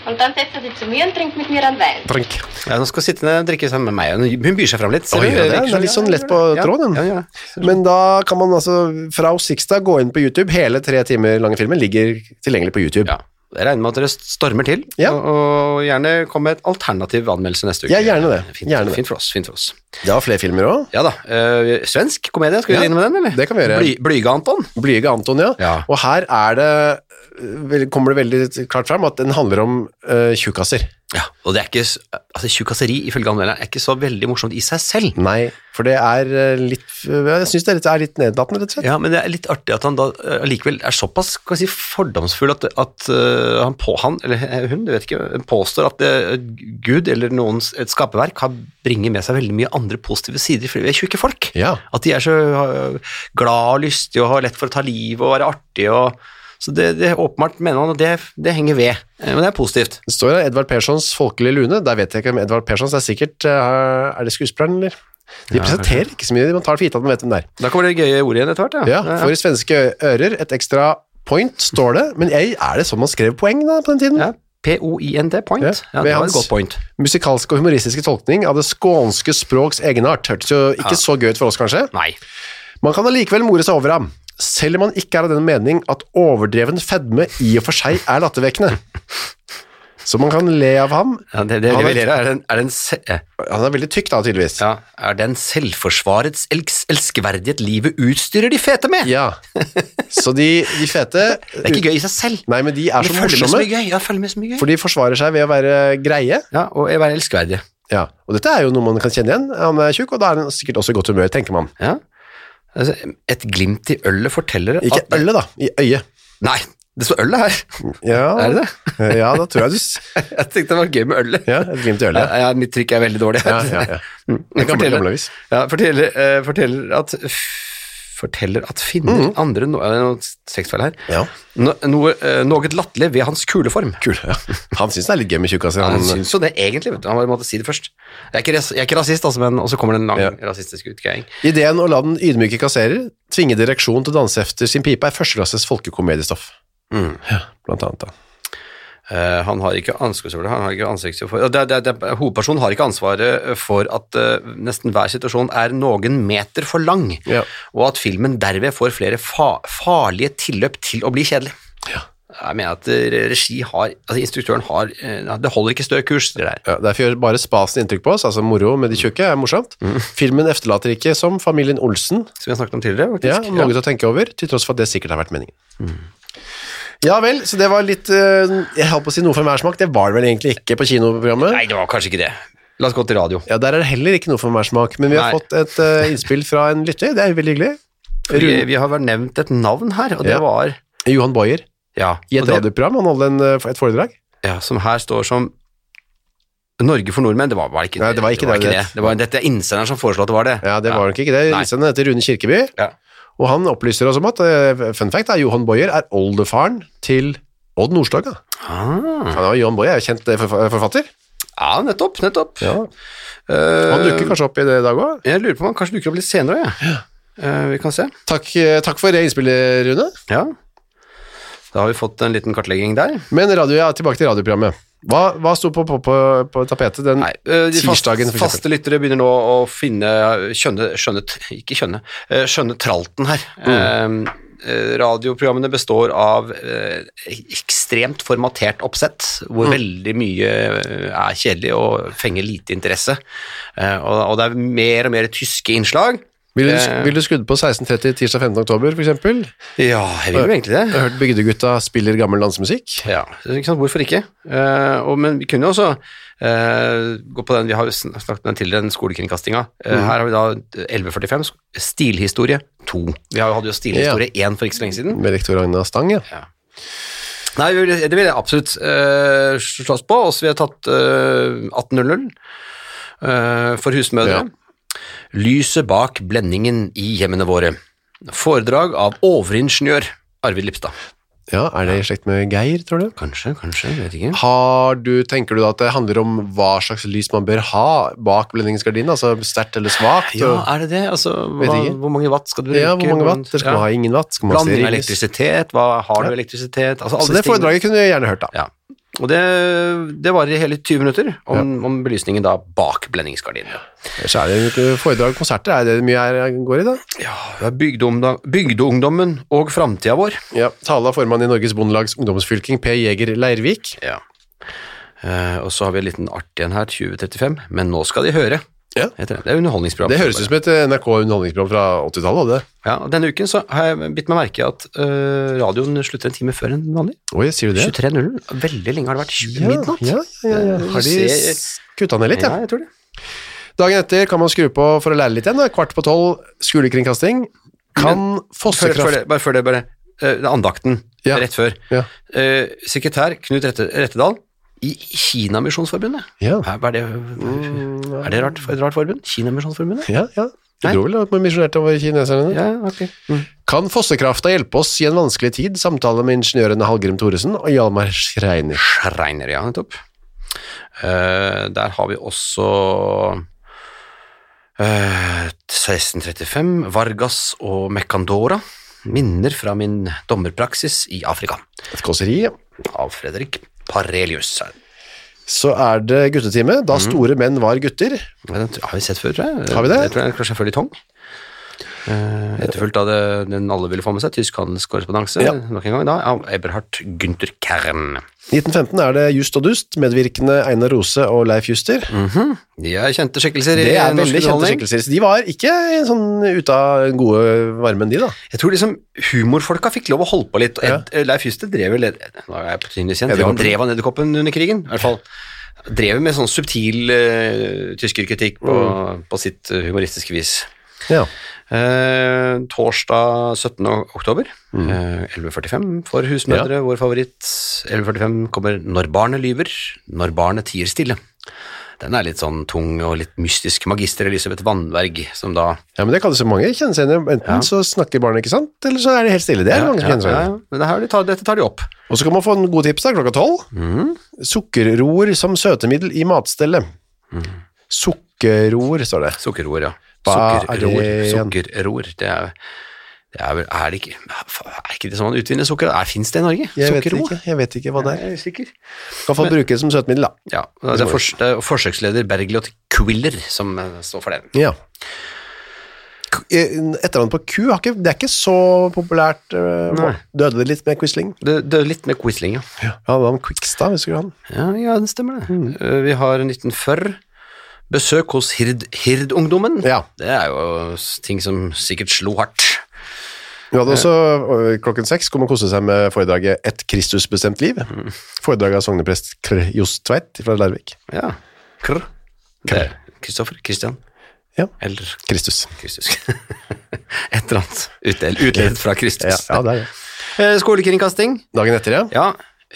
E: und dann setzt er sich zu mir und trinkt mit mir an Wein.
B: Frank.
A: Ja, nå skal hun sitte ned og drikke sammen med meg. Hun- Hun byr seg fram litt. ser du?
B: Oi, ja, det er-
A: Virker
B: det er litt
A: som-
B: sånn
A: ja,
B: lett på
A: ja,
B: tråden.
A: Ja, ja.
B: Men da kan man altså fra Sixta gå inn på YouTube. Hele tre timer lange filmen ligger tilgjengelig på YouTube.
A: Ja. Jeg regner med at dere stormer til,
B: Ja.
A: og, og gjerne kom med et alternativ anmeldelse neste uke.
B: Ja, gjerne det.
A: Fint,
B: Gjerne det.
A: fint for oss. fint for oss.
B: Det var flere filmer òg.
A: Ja da. eh, svensk komedie, skal vi
B: Ja,
A: begynne med den, eller?
B: det kan vi gjøre.
A: Bly, Blyge Anton.
B: Blyge Anton, ja.
A: Ja.
B: Og her er det eh, vel- kommer det veldig klart fram at den handler om eh, tjukkaser.
A: Ja, og det er ikke, s- altså Tjukkaseri ifølge anmelderen er ikke så veldig morsomt i seg selv.
B: Nei, for det er eh, litt Jeg syns det er litt, er litt nedlatende, rett og slett.
A: Ja, Men det er litt artig at han da eh, allikevel er såpass kan jeg si, fordomsfull at, at eh, han, på, han, eller eh, hun, du vet ikke, påstår at eh, Gud eller noens et skaperverk har bringer med seg veldig mye andre positive sider fordi vi er tjukke folk.
B: Ja.
A: At de er så øh, glad og lystige og har lett for å ta livet og være artige. Og, så det, det er åpenbart mener han, og det, det henger ved. Eh, Men det er positivt.
B: Det står her Edvard Perssons folkelige lune. Der vet jeg ikke om Edvard Perssons er sikkert eh, Er det skuespilleren, eller? De presenterer ikke så mye, man tar for gitt at man vet hvem det er.
A: Da kommer det gøye ordet igjen etter hvert.
B: Ja, for i svenske ører et ekstra point, står det. Men jeg, er det sånn man skrev poeng da, på den tiden?
A: Ja, P-O-I-N-T, point.
B: Ja,
A: Ja,
B: ved
A: det var
B: hans-
A: et godt point.
B: Musikalsk og humoristiske tolkning av det skånske språks egenart hørtes jo ikke så gøy ut for oss, kanskje.
A: Nei.
B: Man kan allikevel more seg over ham, selv om man ikke er av den mening at overdreven fedme i og for seg er lattervekkende. Så man kan le av ham.
A: Ja, det, det
B: Han er-
A: leverer er en, er en, se- eh,
B: Han er veldig tykk da, tydeligvis.
A: ja, er det en selvforsvarets elks, elskeverdighet livet utstyrer de fete med?
B: Ja. Så de, de fete
A: Det er ikke gøy i seg selv.
B: Nei, men de er
A: Men
B: så
A: følg med så
B: morsomme,
A: mye gøy. Ja, følg med så mye gøy.
B: for de forsvarer seg ved å være greie.
A: Ja, og være elskverdig.
B: Ja. Og dette er jo noe man kan kjenne igjen. Han er tjukk, og da er han sikkert også i godt humør, tenker man.
A: Ja. Altså, et glimt i ølet forteller
B: Ikke Mm.
A: at
B: ølet, da. I øyet.
A: Nei, det står ølet her.
B: Ja,
A: Er det det?
B: ja, da tror jeg du s-
A: Jeg tenkte det var gøy med ølet.
B: Ja, et glimt i ølet.
A: Ja, ja, mitt trykk er veldig dårlig.
B: Ja, ja, ja. Det er gamle, gamle avis.
A: ja, forteller, eh, forteller at forteller at finner andre no, er det noe tekstfeil her.
B: Mm. Ja.
A: No, noe, eh, noe latterlig ved hans kuleform.
B: Kul, ja. Han syns det er litt gøy med tjukkaser.
A: Han
B: Han,
A: syns jo det egentlig, vet du. Han bare måtte si det først. Jeg er ikke, ras, jeg er ikke rasist, altså, men Og så kommer det en lang
B: Ja.
A: rasistisk utgreiing.
B: Ideen å la den ydmyke kasserer tvinge direksjon til å danse efter sin pipe er førsteklasses folkekomediestoff. Ja, blant annet, da.
A: Eh, han har ikke ansvarsrolle, han har ikke ansiktsrolle for det, det, det, Hovedpersonen har ikke ansvaret for at eh, nesten hver situasjon er noen meter for lang,
B: Ja.
A: og at filmen derved får flere fa farlige tilløp til å bli kjedelig.
B: Ja.
A: jeg mener at eh, regi har Altså, instruktøren har eh, Det holder ikke stø kurs, det der.
B: Ja, derfor gjør bare spasen inntrykk på oss, altså moro med de tjukke er morsomt. Filmen efterlater ikke som familien Olsen,
A: Som vi har snakket om tidligere,
B: ja,
A: faktisk.
B: Mm. noe til å tenke over, til tross for at det sikkert har vært meningen. Ja vel, så det var litt, eh, jeg holdt på å si noe for hver smak, det var det vel egentlig ikke på kinoprogrammet.
A: Nei, det var kanskje ikke det. La oss gå til radio.
B: Ja, der er det heller ikke noe for hver smak, men vi har
A: Nei.
B: fått et eh, innspill fra en lytter, det er jo veldig hyggelig.
A: Vi,
B: Rune,
A: vi har vel nevnt et navn her, og det
B: Ja.
A: var
B: Johan Boyer,
A: ja,
B: i
A: og
B: et
A: det-
B: radioprogram, han holdt en, eh, et foredrag.
A: ja, som her står som Norge for nordmenn. Det var vel ikke
B: Nei, det var ikke det,
A: det.
B: det-
A: Det. var dette er innsenderen som foreslo at det var det.
B: Ja, det var nok ikke det.
A: Nei.
B: Innsenderen heter Rune Kirkeby,
A: Ja.
B: og han opplyser oss om at, eh, fun fact, er Johan Boyer er oldefaren til Odd Nordstoga.
A: Ah,
B: Han er, Johan Boyer er jo kjent eh, forfa- forfatter.
A: ja, nettopp, nettopp.
B: Og
A: Eh,
B: Han dukker kanskje opp i det i dag også.
A: Jeg lurer på om han kanskje dukker opp litt senere, jeg. Eh, vi kan se.
B: Takk, eh, takk for det innspillet, Rune.
A: Ja. Da har vi fått en liten kartlegging der.
B: Men radio, ja, tilbake til radioprogrammet. Hva, hva sto på, på, på, på tapetet den
A: Nei, eh, de fast,
B: Tirsdagen, for eksempel.
A: faste lyttere begynner nå å finne skjønne, skjønne ikke skjønne, eh, skjønne tralten her. Eh, eh, radioprogrammene består av eh, ekstremt formatert oppsett, hvor veldig mye eh, er kjedelig og fenger lite interesse. Eh, og, og det er mer og mer tyske innslag.
B: Ville du,
A: Eh.
B: vil du skrudd på 16.30 tirsdag 15. oktober, for eksempel?
A: Ja, jeg vil jo egentlig
B: Jeg
A: det.
B: har hørt Bygdegutta spiller gammel landsmusikk.
A: Ja, ikke sant? Hvorfor ikke? Eh, og, men vi kunne jo også eh, gå på den, vi har jo sn- snakket om den tidligere, den skolekringkastinga. Eh, Her har vi da 1145, sk- stilhistorie 2. Vi har jo- hadde jo stilhistorie 1 for ikke så lenge siden.
B: Med rektor Agna Stang, ja.
A: Nei, vi vil- det vil jeg absolutt eh, slåss på. Også vi har tatt eh, 1800 eh, for husmødre.
B: Ja.
A: Lyset bak blendingen i hjemmene våre. Foredrag av overingeniør Arvid Lipstad.
B: ja. Er det i slekt med Geir, tror du?
A: Kanskje, kanskje, jeg vet ikke.
B: Har du, tenker du da at det handler om hva slags lys man bør ha bak blendingsgardinen, altså sterkt eller svagt?
A: Ja,
B: og-
A: er det det? Altså,
B: Vet
A: hva,
B: ikke.
A: hvor mange watt skal du bruke?
B: ja hvor mange watt? Skal man ha ingen watt? Skal man
A: Blanding
B: ha
A: av
B: stearinlys?
A: elektrisitet, hva har du
B: Ja.
A: elektrisitet? Altså, alle
B: Så
A: disse
B: det
A: tingene.
B: foredraget kunne jeg gjerne hørt, da.
A: Ja. Og det, det varer i hele 20 minutter, om, om belysningen da bak blendingsgardinene.
B: Ellers er det jo foredrag og konserter, er det det mye her går i, da?
A: Ja, det er bygdeungdom- bygdeungdommen og framtida vår.
B: Ja. Tale av formann i Norges Bondelags ungdomsfylking, Per Jæger Leirvik.
A: Ja. Eh, og så har vi en liten artig en her, 2035, men nå skal de høre.
B: Ja.
A: heter Det Det er underholdningsprogram.
B: Det høres ut som et NRK-underholdningsprogram fra 80-tallet, hadde det?
A: Ja, og denne uken så har jeg bitt meg merke i at eh, radioen slutter en time før enn vanlig.
B: Oi, sier du det?
A: 23.00. Veldig lenge har det vært 20
B: Ja,
A: midnatt.
B: ja, ja, ja. Har de
A: Se-
B: s- kutta ned litt,
A: Ja,
B: ja?
A: jeg tror det.
B: Dagen etter kan man skru på for å lære litt igjen. Da. Kvart på tolv, skolekringkasting. Kan
A: Før, før
B: fossekraft
A: det, bare før det, bare eh, det er andakten
B: Ja.
A: rett før.
B: Ja.
A: Eh, sekretær Knut Rette, Rettedal i Kinamisjonsforbundet.
B: Ja.
A: Er, er det, Mm, er det rart, et rart forbund? Kinamisjonsforbundet?
B: Ja, ja. Du
A: Nei.
B: dro vel og misjonerte over kineserne?
A: Ja, ok.
B: Kan fossekrafta hjelpe oss i en vanskelig tid? Samtale med ingeniørene Hallgrim Thoresen og Hjalmar Schreiner.
A: Schreiner, ja, nettopp. Eh, der har vi også eh, 1635, Vargas og Mekandora. Minner fra min dommerpraksis i Afrika.
B: Et kåseri. ja.
A: Av Fredrik Parelius.
B: Så er det guttetime,
A: Mhm.
B: da store menn var gutter.
A: Ja, Den tr- har vi sett før, tror jeg.
B: Har vi det? Eh,
A: Jeg tror jeg kanskje før i Tong. Uh, Etterfulgt av det, den alle ville få med seg, tysk handelskorrespondanse,
B: Ja.
A: nok en gang da, av Eberhard Günther Kern.
B: 1915 er det Just og Dust, medvirkende Einar Rose og Leif Juster.
A: De Mhm. er kjente skikkelser
B: Det
A: i
B: er
A: norsk
B: veldig kjente
A: underholdning.
B: skikkelser. Så de var ikke sånn ute av den gode varmen, de da.
A: Jeg tror liksom humorfolka fikk lov å holde på litt. og Ed, Leif Juster drev vel Nå er jeg på tynn is igjen.
B: Edderkoppen.
A: Han drev han Edderkoppen under krigen, i hvert fall. Drev med sånn subtil eh, tyskerkritikk på,
B: Mm.
A: på sitt eh, humoristiske vis.
B: Ja.
A: Eh, torsdag 17. oktober,
B: Mm.
A: eh, 11.45 for husmødre, vår favoritt. 11.45 kommer 'Når barnet lyver, når barnet tier stille'. Den er litt sånn tung og litt mystisk. Magister Elisabeth Wandberg, som da
B: men det kan jo så mange kjenne seg igjen i. Enten
A: Ja.
B: så snakker barnet ikke sant, eller så er det helt stille. Det er det mange som
A: ja,
B: kjenner seg
A: ja,
B: igjen i.
A: ja. Men det her, de tar, Dette tar de opp.
B: Og så kan man få en god tips da, klokka tolv.
A: Mm.
B: Sukkerroer som søtemiddel i matstellet.
A: Mm.
B: Sukkerroer, står det.
A: Sukkerroer, ja.
B: Hva er
A: Sukkerroer.
B: det igjen?
A: Sukkerroer. Det er, det er vel Er det ikke Er ikke det sånn man utvinner sukker? Fins det i Norge?
B: Jeg vet,
A: Sukkerroer?
B: ikke, jeg vet ikke hva det er.
A: Jeg er usikker.
B: Kan få bruke det som søtemiddel, da.
A: Ja, det er, fors det er forsøksleder Bergljot Quiller som eh, står for det.
B: Ja. k- eh, etternavnet på Q har ikke, det er ikke så populært. eh,
A: Nei.
B: Døde det litt med Quisling?
A: Det, det er litt med Quisling, ja.
B: Ja, han var en Quickstad, husker du han?
A: Ja, ja, det stemmer det. Eh, Vi har 1940. Besøk hos hird, Hirdungdommen.
B: Ja.
A: Det er jo s- ting som sikkert slo hardt.
B: Vi
A: Eh.
B: hadde også ø, klokken seks kom og koste seg med foredraget Et Kristusbestemt liv. Foredraget av sogneprest Kr. Johs Tveit fra Larvik.
A: Ja. Krr. Det er Kristoffer? Kristian?
B: Ja.
A: Eller
B: Kristus.
A: Kristus. Et eller annet. Utdel- Utledet fra
B: Ja,
A: Kristus.
B: ja, det er det.
A: Eh, Skolekringkasting.
B: Dagen etter, ja.
A: Ja.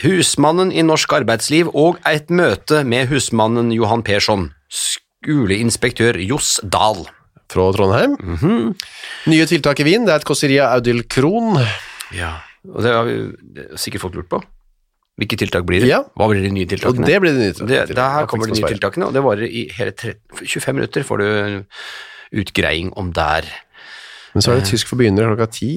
A: Husmannen i norsk arbeidsliv og et møte med husmannen Johan Persson. Skoleinspektør Johs Dahl.
B: Fra Trondheim.
A: Mhm.
B: Nye tiltak i Wien. Det er et kåseri av Audhild Krohn.
A: Ja, og det har vi det har sikkert folk lurt på. Hvilke tiltak blir det?
B: Ja.
A: Hva blir de nye
B: Og
A: tiltakene?
B: det blir det nye
A: Og det-
B: tiltak.
A: der kommer de nye
B: tiltak.
A: tiltakene, og det varer i hele tre- 25 minutter får du utgreiing om der.
B: Men så er det tysk for begynnere klokka ti.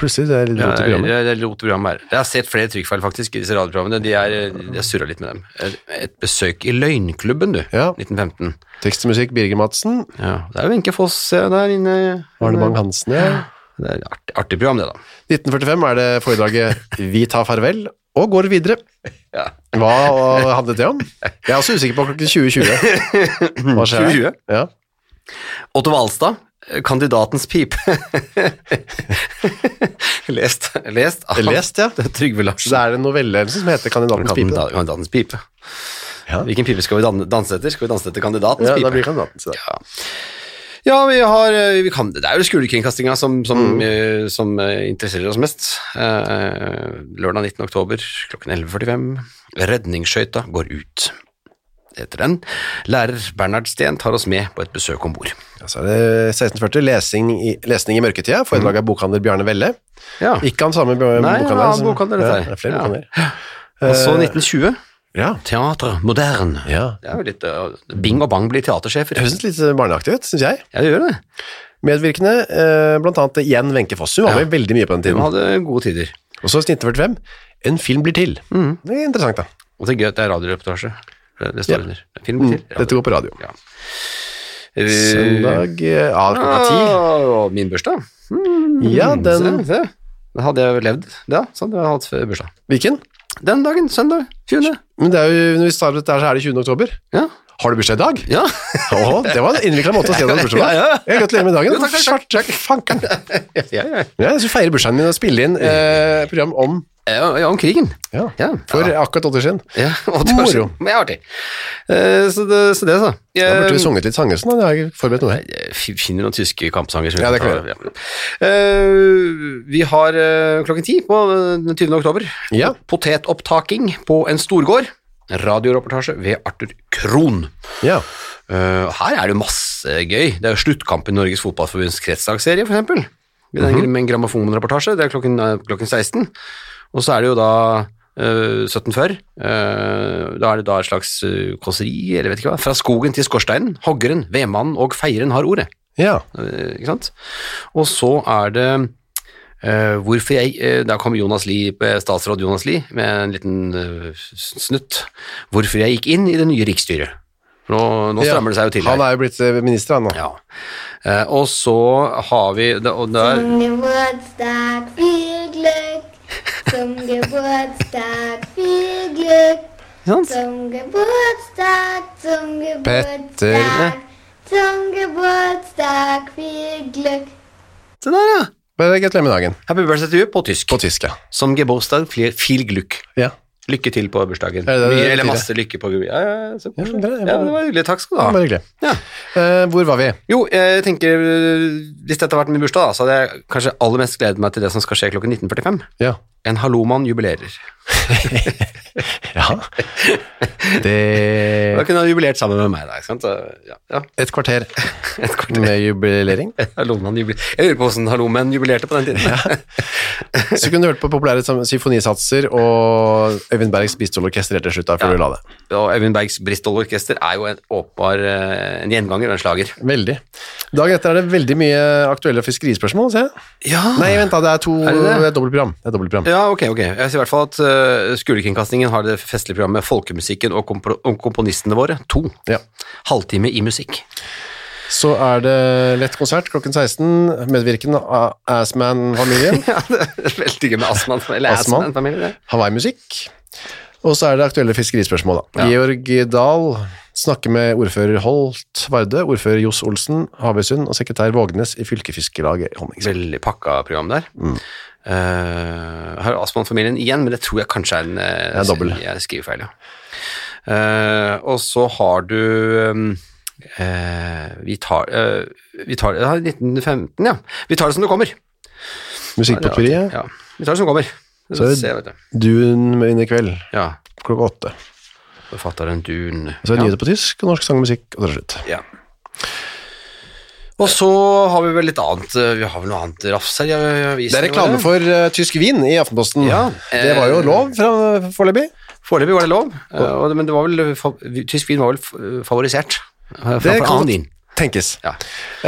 B: Plutselig, det er litt
A: Ja,
B: rot i
A: det
B: programmet.
A: er Eh, det er rot i programmet her. Jeg har sett flere trykkfeil faktisk i disse radioprogrammene. De er, jeg surra litt med dem. Et besøk i Løgnklubben, du.
B: Ja.
A: 1915.
B: Tekst og musikk, Birger Madsen.
A: Ja, det er jo Wenche Foss eh, der inne.
B: Arne Bang-Hansen, ja.
A: Det er et artig, artig program, det, da.
B: 1945 er det foredraget Vi tar farvel og går videre.
A: Ja.
B: Hva handlet det om? Jeg er også usikker på klokken 20.20. Hva skjer? her?
A: 20.20?
B: Ja.
A: Otto Walstad, eh, kandidatens pipe. lest, lest av
B: Lest, ja.
A: Trygve
B: Så det
A: Larsen.
B: er en novelle som heter Kandidatens pipe. da.
A: Kandida- Kandidatens pipe.
B: Ja.
A: Hvilken pipe skal vi dan- danse etter? Skal vi danse etter kandidatens
B: Ja, da
A: pipe?
B: blir kandidaten til det.
A: Ja, vi har eh, vi kan, Det er jo skolekringkastinga som, som,
B: Mm.
A: eh, som eh, interesserer oss mest. Eh, lørdag 19. oktober klokken 11.45. Redningsskøyta går ut. Etter den. Lærer Bernhard Steen tar oss med på et besøk om bord.
B: Ja, så er det 1640, lesing i, lesning i mørketida, foredrag av bokhandler Bjarne Velle.
A: Ja.
B: Ikke han samme bjørn-
A: Nei,
B: bokhandleren.
A: en annen
B: som-
A: bokhandler, dette
B: ja,
A: her.
B: det er flere
A: Ja.
B: bokhandler.
A: Og så
B: eh,
A: 1920.
B: Ja.
A: Teater moderne.
B: ja.
A: Det er jo litt eh, Bing og bang blir teatersjefer.
B: Det høres litt barneaktig ut, synes jeg.
A: Ja, det gjør det.
B: Medvirkende, eh, blant annet igjen Wenche Foss. Hun
A: Ja.
B: var med veldig mye på den
A: De
B: tiden.
A: hadde gode tider.
B: Og så 1945, en film blir til.
A: Mm.
B: Det er interessant da.
A: Og det er gøy at det er radioreportasje. Det det står
B: Ja. Mm.
A: under. Film til.
B: Dette går på radio.
A: Ja. Eh,
B: Søndag, eh, ja, klokka ti.
A: ah, Og min bursdag. Mm,
B: Ja,
A: se,
B: den-
A: se. Da hadde jeg levd. Ja, sånn, jeg hadde hatt før bursdag.
B: Hvilken?
A: Den dagen, søndag 20.
B: Men det er jo, når vi starter dette her, så er det 20. oktober.
A: Ja.
B: Har du bursdag i dag?
A: ja.
B: Åh, det var en innviklet måte å si at du hadde bursdag. på.
A: Ja, ja, ja.
B: Ja, Gratulerer med dagen.
A: Jo, takk, takk,
B: Svarte fanken.
A: ja, ja.
B: Ja, jeg skal feire bursdagen min og spille inn eh, program om
A: ja, ja om krigen.
B: ja,
A: Ja.
B: for akkurat åtte år siden.
A: ja. og det var så-
B: Moro.
A: Men det er artig. Eh, Så det, så det så.
B: Da burde
A: Eh,
B: vi sunget litt sanger, sånn da. Jeg har ikke forberedt noe her.
A: Jeg finner noen tyske kampsanger. som
B: Ja, det
A: vi
B: kan
A: tar. Ja. Eh, vi har eh, klokken ti på eh, den 20. oktober.
B: Ja.
A: Potetopptaking på en storgård. Radioreportasje ved Arthur Krohn.
B: Ja.
A: Eh, her er det jo masse gøy. Det er jo sluttkamp i Norges Fotballforbunds kretsdagsserie, for eksempel. Det er en- en grammofonreportasje. Det er klokken, eh, klokken 16. Og så er det jo da eh, 1740. eh, da er det da et slags eh, kåseri, eller vet ikke hva. Fra skogen til skorsteinen. Hoggeren, vedmannen og feieren har ordet.
B: ja.
A: Eh, ikke sant? Og så er det eh, hvorfor jeg eh, Der kom Jonas Lie, eh, statsråd Jonas Lie med en liten eh, snutt. Hvorfor jeg gikk inn i det nye riksstyret. For nå, nå
B: Ja.
A: strammer det seg jo til
B: Han
A: her.
B: er jo blitt eh, minister, han nå.
A: Ja. Eh, og så har vi det- og der,
D: Zum Geburtstag viel Glück. Zum Geburtstag viel Glück. Zum Geburtstag, zum
B: Petter.
D: Geburtstag. Zum Geburtstag viel Glück.
A: Se der, ja!
B: Bare gratulerer med dagen.
A: Happy birthday to you på tysk.
B: På tysk, ja.
A: Som gebursdag, viel- viel glück.
B: Ja.
A: Lykke til på bursdagen.
B: Er det det det
A: Mye,
B: betyr,
A: eller
B: det?
A: masse lykke på ja, ja, ja, så
B: Ja,
A: koselig.
B: det er-
A: ja, det var hyggelig. Takk skal du ha.
B: Bare hyggelig.
A: Ja.
B: Eh, hvor var vi?
A: Jo, jeg tenker øh, Hvis dette hadde vært min bursdag, da, så hadde jeg kanskje aller mest gledet meg til det som skal skje klokken 19.45.
B: Ja.
A: En hallomann jubilerer.
B: ja.
A: Da
B: Det
A: kunne han jubilert sammen med meg, da. Ikke sant? Så, ja, ja.
B: Et kvarter med jubilering.
A: Hallomann jubiler. Jeg lurer på åssen hallomenn jubilerte på den tiden.
B: Så kunne du hørt på populære sam- symfonisatser og Øyvind Bergs Bistolorkester helt til slutt, da, før
A: Ja.
B: du la det.
A: Og Øyvind Bergs Bristol Orkester er jo en åpenbar øh, en gjenganger og en slager.
B: Veldig. Dagen etter er det veldig mye aktuelle fiskerispørsmål, ser jeg.
A: Ja.
B: Nei, vent da, det er to
A: Er det det?
B: det er dobbeltprogram. Det er dobbeltprogram.
A: Ja, ok, ok. Jeg sier i hvert fall at øh, Skolekringkastingen har det festlige programmet Folkemusikken og, kompro- og komponistene våre, to.
B: Ja.
A: Halvtime i musikk.
B: så er det lett konsert klokken 16, medvirkende av Assman-familien,
A: Ja, det er veldig gøy med Asman, eller
B: Assmann.
A: Asman-familie.
B: Hawaii-musikk. Og så er det aktuelle fiskerispørsmål, da. Georg Dahl snakker med ordfører Holt Varde, ordfører Johs Olsen, Havøysund og sekretær Vågnes i fylkesfiskelaget i Honningsvåg.
A: Veldig pakka program der.
B: Mm.
A: Eh, her er Asman-familien igjen, men det tror jeg kanskje er en eh,
B: er dobbel.
A: Jeg skriver feil, ja. Eh, og så har du eh, eh, vi tar, eh, vi tar ja, 1915, ja. Vi tar det som det kommer.
B: Musikkpotpurriet,
A: Ja, vi tar det som det kommer.
B: Så er det-
A: Se, vet du.
B: Dun med inn i kveld,
A: Ja,
B: klokka åtte.
A: forfatteren Dun.
B: Så er det
A: ja.
B: nyheter på tysk og norsk sang og musikk, og så er det slutt.
A: Ja. Og så har vi vel litt annet eh, Vi har vel noe annet rafs her? i avisene
B: Det er reklame
A: våre.
B: for eh, tysk vin i Aftenposten.
A: Ja,
B: det var jo
A: eh,
B: lov fra foreløpig.
A: Foreløpig var det lov, eh, og- men det var vel, fa- tysk vin var vel f- favorisert. eh,
B: Det
A: framfor
B: kan
A: annen
B: godt
A: vin.
B: tenkes.
A: Ja.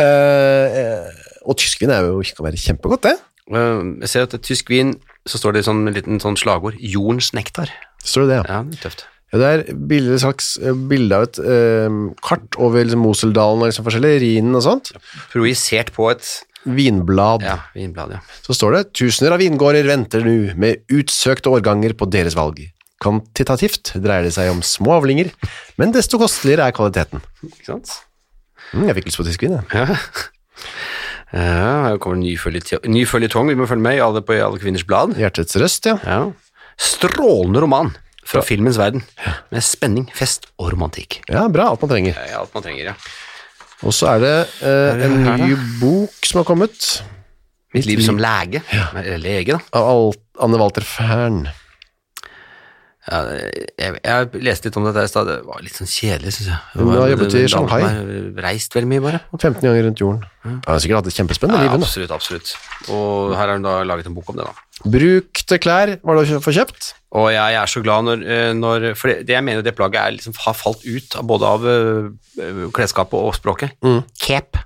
B: Eh, eh, og tysk vin er jo, kan være kjempegodt, det.
A: Eh, Jeg ser at det er tysk vin, så står det sånn, en liten sånn slagord 'Jordens nektar'.
B: Står det det, ja.
A: Ja, det er tøft.
B: ja det er bilde, slags eh, bilde av et eh, kart over liksom, Moseldalen og liksom forskjellig, Rhinen og sånt.
A: Projisert på et
B: Vinblad.
A: ja, vinblad, ja.
B: Så står det 'Tusener av vingårder venter nå med utsøkte årganger på deres valg'. Kvantitativt dreier det seg om små avlinger, men desto kosteligere er kvaliteten.
A: Ikke sant?
B: Mm, jeg fikk lyst på tysk vin, jeg.
A: Ja. Ja, her kommer en ny føljetong. Ny føljetong, vi må følge med i alle, på i alle kvinners blad.
B: Hjertets røst, ja.
A: Ja. Strålende roman fra filmens verden, med spenning, fest og romantikk.
B: Ja, bra. Alt man trenger.
A: Ja, alt man trenger, ja.
B: Og så er det eh, en
A: her, da?
B: ny bok som har kommet,
A: Mitt liv som lege. Eller lege, da.
B: av Al- Anne Walter Fern.
A: Ja, Eh, jeg, jeg leste litt om dette i stad, det var litt sånn kjedelig, syns jeg. Det
B: Hun
A: var-
B: har jobbet i
A: den damen
B: Shanghai.
A: som har Reist veldig mye, bare.
B: 15 ganger rundt jorden. Ja, Hun har sikkert hatt et kjempespennende
A: Ja,
B: liv. hun, da.
A: absolutt, absolutt. Og her har hun da laget en bok om det, da.
B: Brukte klær var det å kjø- få kjøpt.
A: Og jeg er så glad når, eh, når For det, det jeg mener det plagget er liksom, har falt ut av både av eh, klesskapet og språket. Cape.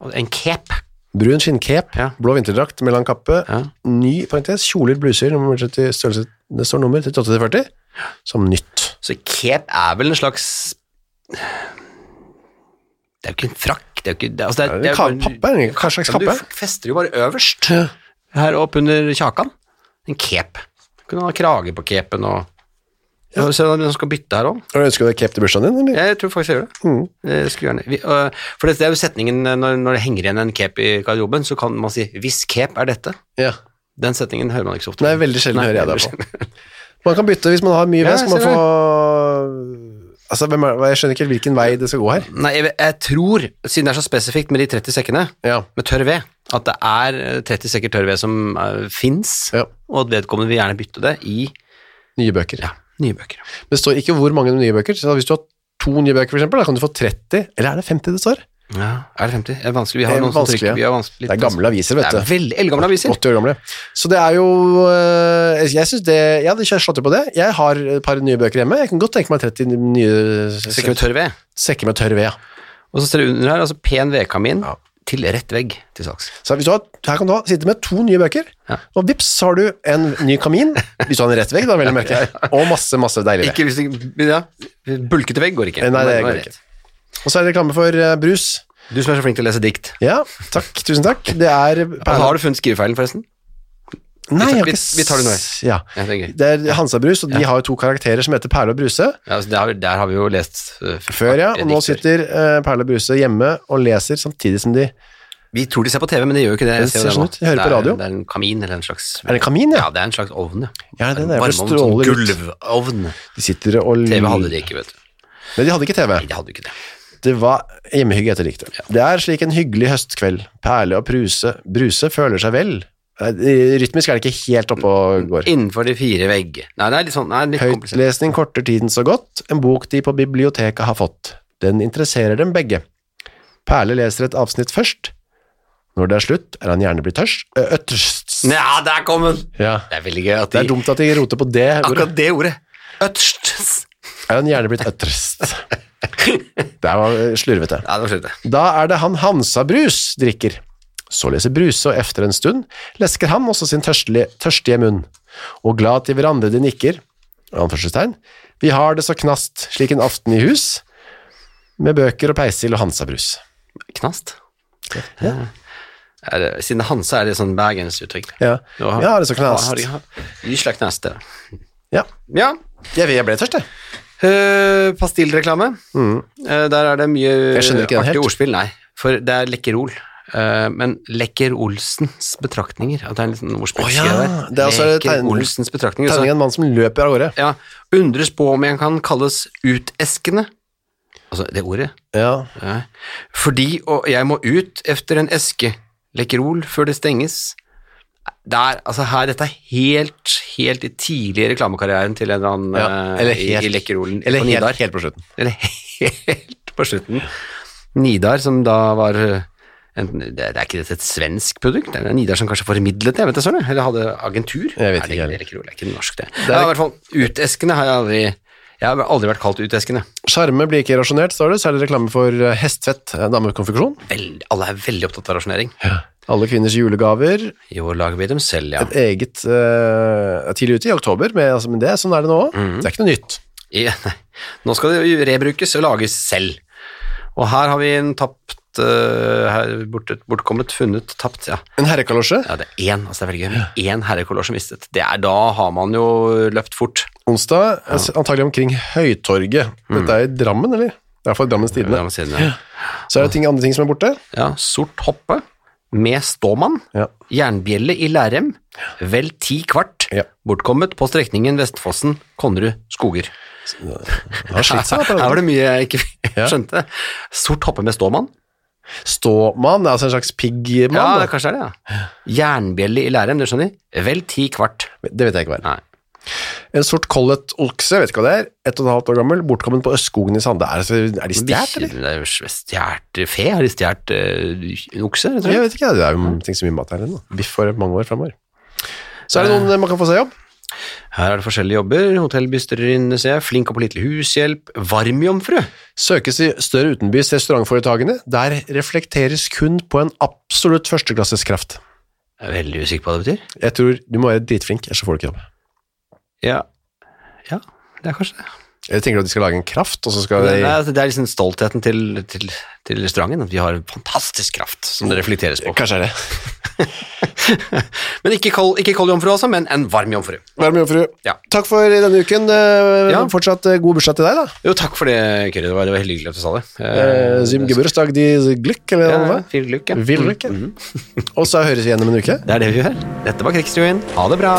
A: Og En cape.
B: Brun skinncape,
A: Ja.
B: blå vinterdrakt med lang kappe,
A: Ja.
B: ny parentes, kjoler, bluser, nummer 30, størrelse, det står nummer 38-40, som nytt.
A: Så cape er vel en slags Det er jo ikke en frakk. Det er jo ikke det, altså, det
B: Er
A: er,
B: det
A: det er,
B: ka- kappe? Er det ikke- Hva slags
A: Men
B: kappe?
A: Du fester jo bare øverst, her opp under kjakan. En cape. Du kunne ha krage på capen og ja. Se om du skal bytte her òg.
B: Har du ønsket deg cape til bursdagen din, eller?
A: Jeg tror faktisk jeg gjør det.
B: Mm.
A: Eh, skulle gjerne. Vi, øh, for det, det er jo setningen eh, når, når det henger igjen en cape i garderoben, så kan man si 'hvis cape er dette'.
B: Ja.
A: Den setningen hører man ikke så ofte.
B: Nei, veldig sjelden
A: Nei,
B: hører jeg
A: veldig
B: det på. Man kan bytte hvis man har mye
A: Ja,
B: vei, så
A: jeg
B: man
A: ser
B: få... Altså, hvem er, jeg skjønner ikke helt hvilken vei det skal gå her.
A: Nei, jeg, jeg tror, siden det er så spesifikt med de 30 sekkene
B: Ja.
A: med tørr ved, at det er eh, 30 sekker tørr ved som uh, fins,
B: Ja.
A: og at vedkommende vil gjerne bytte det i
B: Nye bøker.
A: ja, nye bøker.
B: Men det står ikke hvor mange nye bøker, så hvis du har to nye bøker for eksempel, da kan du få 30, eller er det 50 det står?
A: Ja, er det 50? Det er vanskelig. Vi
B: Det
A: har
B: er
A: noen som
B: vanskelig,
A: trykker.
B: ja.
A: Vi har vanskelig.
B: Det er gamle aviser,
A: Det
B: vet
A: er
B: du.
A: veldig eldgamle aviser.
B: 80 år gamle. Så det er jo øh, Jeg synes det Jeg hadde ikke slått det på det. Jeg har et par nye bøker hjemme. Jeg kan godt tenke meg 30 nye
A: Sekker med tørr ved.
B: sekker med tørr ved. ja.
A: Og så ser du under her, altså pen vedkamin
B: Ja.
A: til rett vegg til saks.
B: Så hvis du har, her kan du ha, sitte med to nye bøker,
A: Ja.
B: og vips, så har du en ny kamin. Hvis du har en rett vegg, da, vel å merke. Og masse, masse deilig ved.
A: Ikke hvis det ja. Bulkete vegg går ikke.
B: Nei, det
A: Men-
B: går
A: men-
B: ikke. Og så er det reklame for øh, brus.
A: Du som er så flink til å lese dikt.
B: Ja, takk. Tusen takk. Det er
A: Altså, har du funnet skrivefeilen, forresten?
B: Nei, jeg har
A: vi-
B: ikke s-
A: vi tar det nå.
B: Ja.
A: Ja, det er gøy.
B: Det er Hansa Brus, og de har jo to karakterer som heter Perle og Bruse.
A: Ja, altså, der, har vi- der har vi jo lest eh,
B: Før, øh, ja.
A: dikt
B: Og nå
A: før.
B: sitter eh, Perle og Bruse hjemme og leser samtidig som de
A: Vi tror de ser på TV, men de gjør jo ikke det. Jeg
B: Det
A: ser jo
B: ser sånn
A: nå.
B: ut. Jeg hører
A: det
B: på
A: er,
B: radio.
A: Det er en kamin eller en slags
B: Er det kamin, ja?
A: Ja, det er en slags ovn, ja.
B: Ja, den er vel
A: Varmeovn, sånn
B: stråler ut.
A: gulvovn.
B: De sitter og
A: TV hadde de ikke, vet du.
B: Nei, de hadde ikke TV.
A: Nei, de hadde jo ikke det.
B: Det var hjemmehygge etter diktet. Det er slik en hyggelig høstkveld. Perle og Bruse, Bruse føler seg vel. Nei, Rytmisk er det ikke helt oppe og går.
A: Innenfor de fire vegg. Nei, det er litt sånn nei, litt komplisert.
B: Høytlesning korter tiden så godt, en bok de på biblioteket har fått. Den interesserer dem begge. Perle leser et avsnitt først. Når det er slutt, er han gjerne blitt tørst. ø, Øtterst.
A: Ja, der kom den!
B: Ja.
A: Det er veldig gøy at
B: Det
A: de
B: er dumt at de roter på det ordet.
A: Akkurat det ordet. Øtst.
B: Er han gjerne blitt øtterst. Det var ø, slurvete.
A: Ja, det var slutt, det.
B: Da er det han Hansa Brus drikker. Så leser Bruse, og efter en stund lesker han også sin tørstlige, tørstige munn. Og glad til hverandre de nikker, anførselstegn, vi har det så knast, slik en aften i hus, med bøker og peisild og Hansa Brus.
A: Knast. Er det, siden Hanse er det sånn bergensuttrykk.
B: Ja.
A: Du har-
B: ja, det er så knast.
A: Har de- har- Gysla knast, det.
B: Ja.
A: Ja.
B: Jeg, jeg ble tørst, jeg.
A: Eh, Pastillreklame. Eh, der er det mye
B: Mm. Jeg skjønner ikke den
A: artige
B: helt.
A: ordspill. Nei, for det er Lekkerol. Eh, men Lekker-Olsens betraktninger. At det er en liten ordspillskje
B: Å ja,
A: der.
B: det er også tegn-
A: Lekker-Olsens betraktninger.
B: Tegning
A: Så,
B: av en mann som løper av gårde.
A: ja, undres på om en kan kalles uteskende. Altså, det ordet.
B: Ja.
A: Nei. Fordi og jeg må ut efter en eske Lekkerol før det stenges. Der, altså her, dette er helt, helt i tidlig i reklamekarrieren til en eller annen
B: ja.
A: eh, i, i Lekkerolen
B: eller
A: på
B: helt,
A: Nidar.
B: helt på slutten.
A: Eller helt på slutten. Nidar, som da var eh, enten, det, er- det er ikke dette et svensk produkt, det er Nidar som kanskje formidlet det, vet jeg søren, eller hadde agentur.
B: Jeg
A: Nei,
B: vet ikke
A: det,
B: heller.
A: er Lekkerol, det er ikke norsk det.
B: er-
A: ja, i hvert fall, uteskende har jeg aldri, jeg har aldri vært kalt uteskende.
B: Sjarme blir ikke rasjonert, står det. Så er det reklame for eh, hestfett eh, damekonfeksjon.
A: Veldig, alle er veldig opptatt av rasjonering.
B: Alle kvinners julegaver.
A: Jo, lager vi dem selv, ja.
B: Et eget eh, Tidlig ute i oktober, men, altså, men det, sånn er det nå òg. Det er ikke noe nytt.
A: I, nei. Nå skal det jo rebrukes og lages selv. Og her har vi en tapt eh, her bort, Bortkommet, funnet, tapt, ja.
B: En herrekalosje.
A: ja. Det er én, altså det er veldig gøy, men én herrekolor som mistet. Det er da har man jo løpt fort.
B: Onsdag, altså, antagelig omkring Høytorget. Dette er i Drammen, eller? Det er i hvert fall Mhm. Drammens
A: Det
B: Tidende.
A: må jeg si det.
B: Så er det ting, andre ting som er borte.
A: Ja, sort hoppe med ståmann.
B: Ja.
A: Jernbjelle i Lærem. Vel ti kvart.
B: Ja.
A: Bortkommet på strekningen Vestfossen, Konnerud, Skoger.
B: Han har slitt seg. da, på
A: Her var
B: den.
A: det mye jeg ikke
B: Ja.
A: skjønte. Sort hoppe med ståmann.
B: Ståmann, altså en slags piggmann.
A: Ja,
B: da.
A: det kanskje er det, ja. Jernbjelle i Lærem, du skjønner. Vel ti kvart.
B: det vet jeg ikke hva er.
A: Nei.
B: En sort kollet okse, vet ikke hva det er, ett og et halvt år gammel, bortkommen på Østskogen i Sande. Er, det- er de stjert, eller?
A: eller? Stjert fe? Har de stjert eh, en okse? rett og slett?
B: Jeg vet ikke, det er jo ting så mye mat her ennå. Biff for mange år fremover. Så er det noen eh, man kan få seg jobb.
A: Her er det forskjellige jobber. Hotellbystyrerinne, ser jeg. Flink og pålitelig hushjelp. Varmjomfru.
B: Søkes i større utenbys restaurantforetakene. Der reflekteres kun på en absolutt førsteklasses kraft.
A: Jeg er veldig usikker på hva det betyr.
B: Jeg tror du må være dritflink, ellers så får du ikke jobb.
A: Ja, ja det er kanskje det.
B: Eller tenker du at de skal lage en kraft, og så skal
A: Nei,
B: de
A: altså, det er liksom stoltheten til, til, til restauranten, at vi har en fantastisk kraft som det reflekteres på.
B: Kanskje er det.
A: Men ikke kald, ikke kald jomfru, altså, men en varm jomfru.
B: Vær med, jomfru.
A: Ja.
B: Takk for denne uken. Eh,
A: Ja.
B: Fortsatt eh, god bursdag til deg, da.
A: Jo, takk for det, Kyrre. Det var, det var helt hyggelig at du sa det.
B: Eh, Zim Geburstag di Glück, eller
A: ja,
B: hva?
A: Viel Glück, ja. Mhm.
B: Vil du ikke? Og så høres vi igjen om en uke.
A: Det er det vi gjør. Dette var Krigsrevyen. Ha det bra.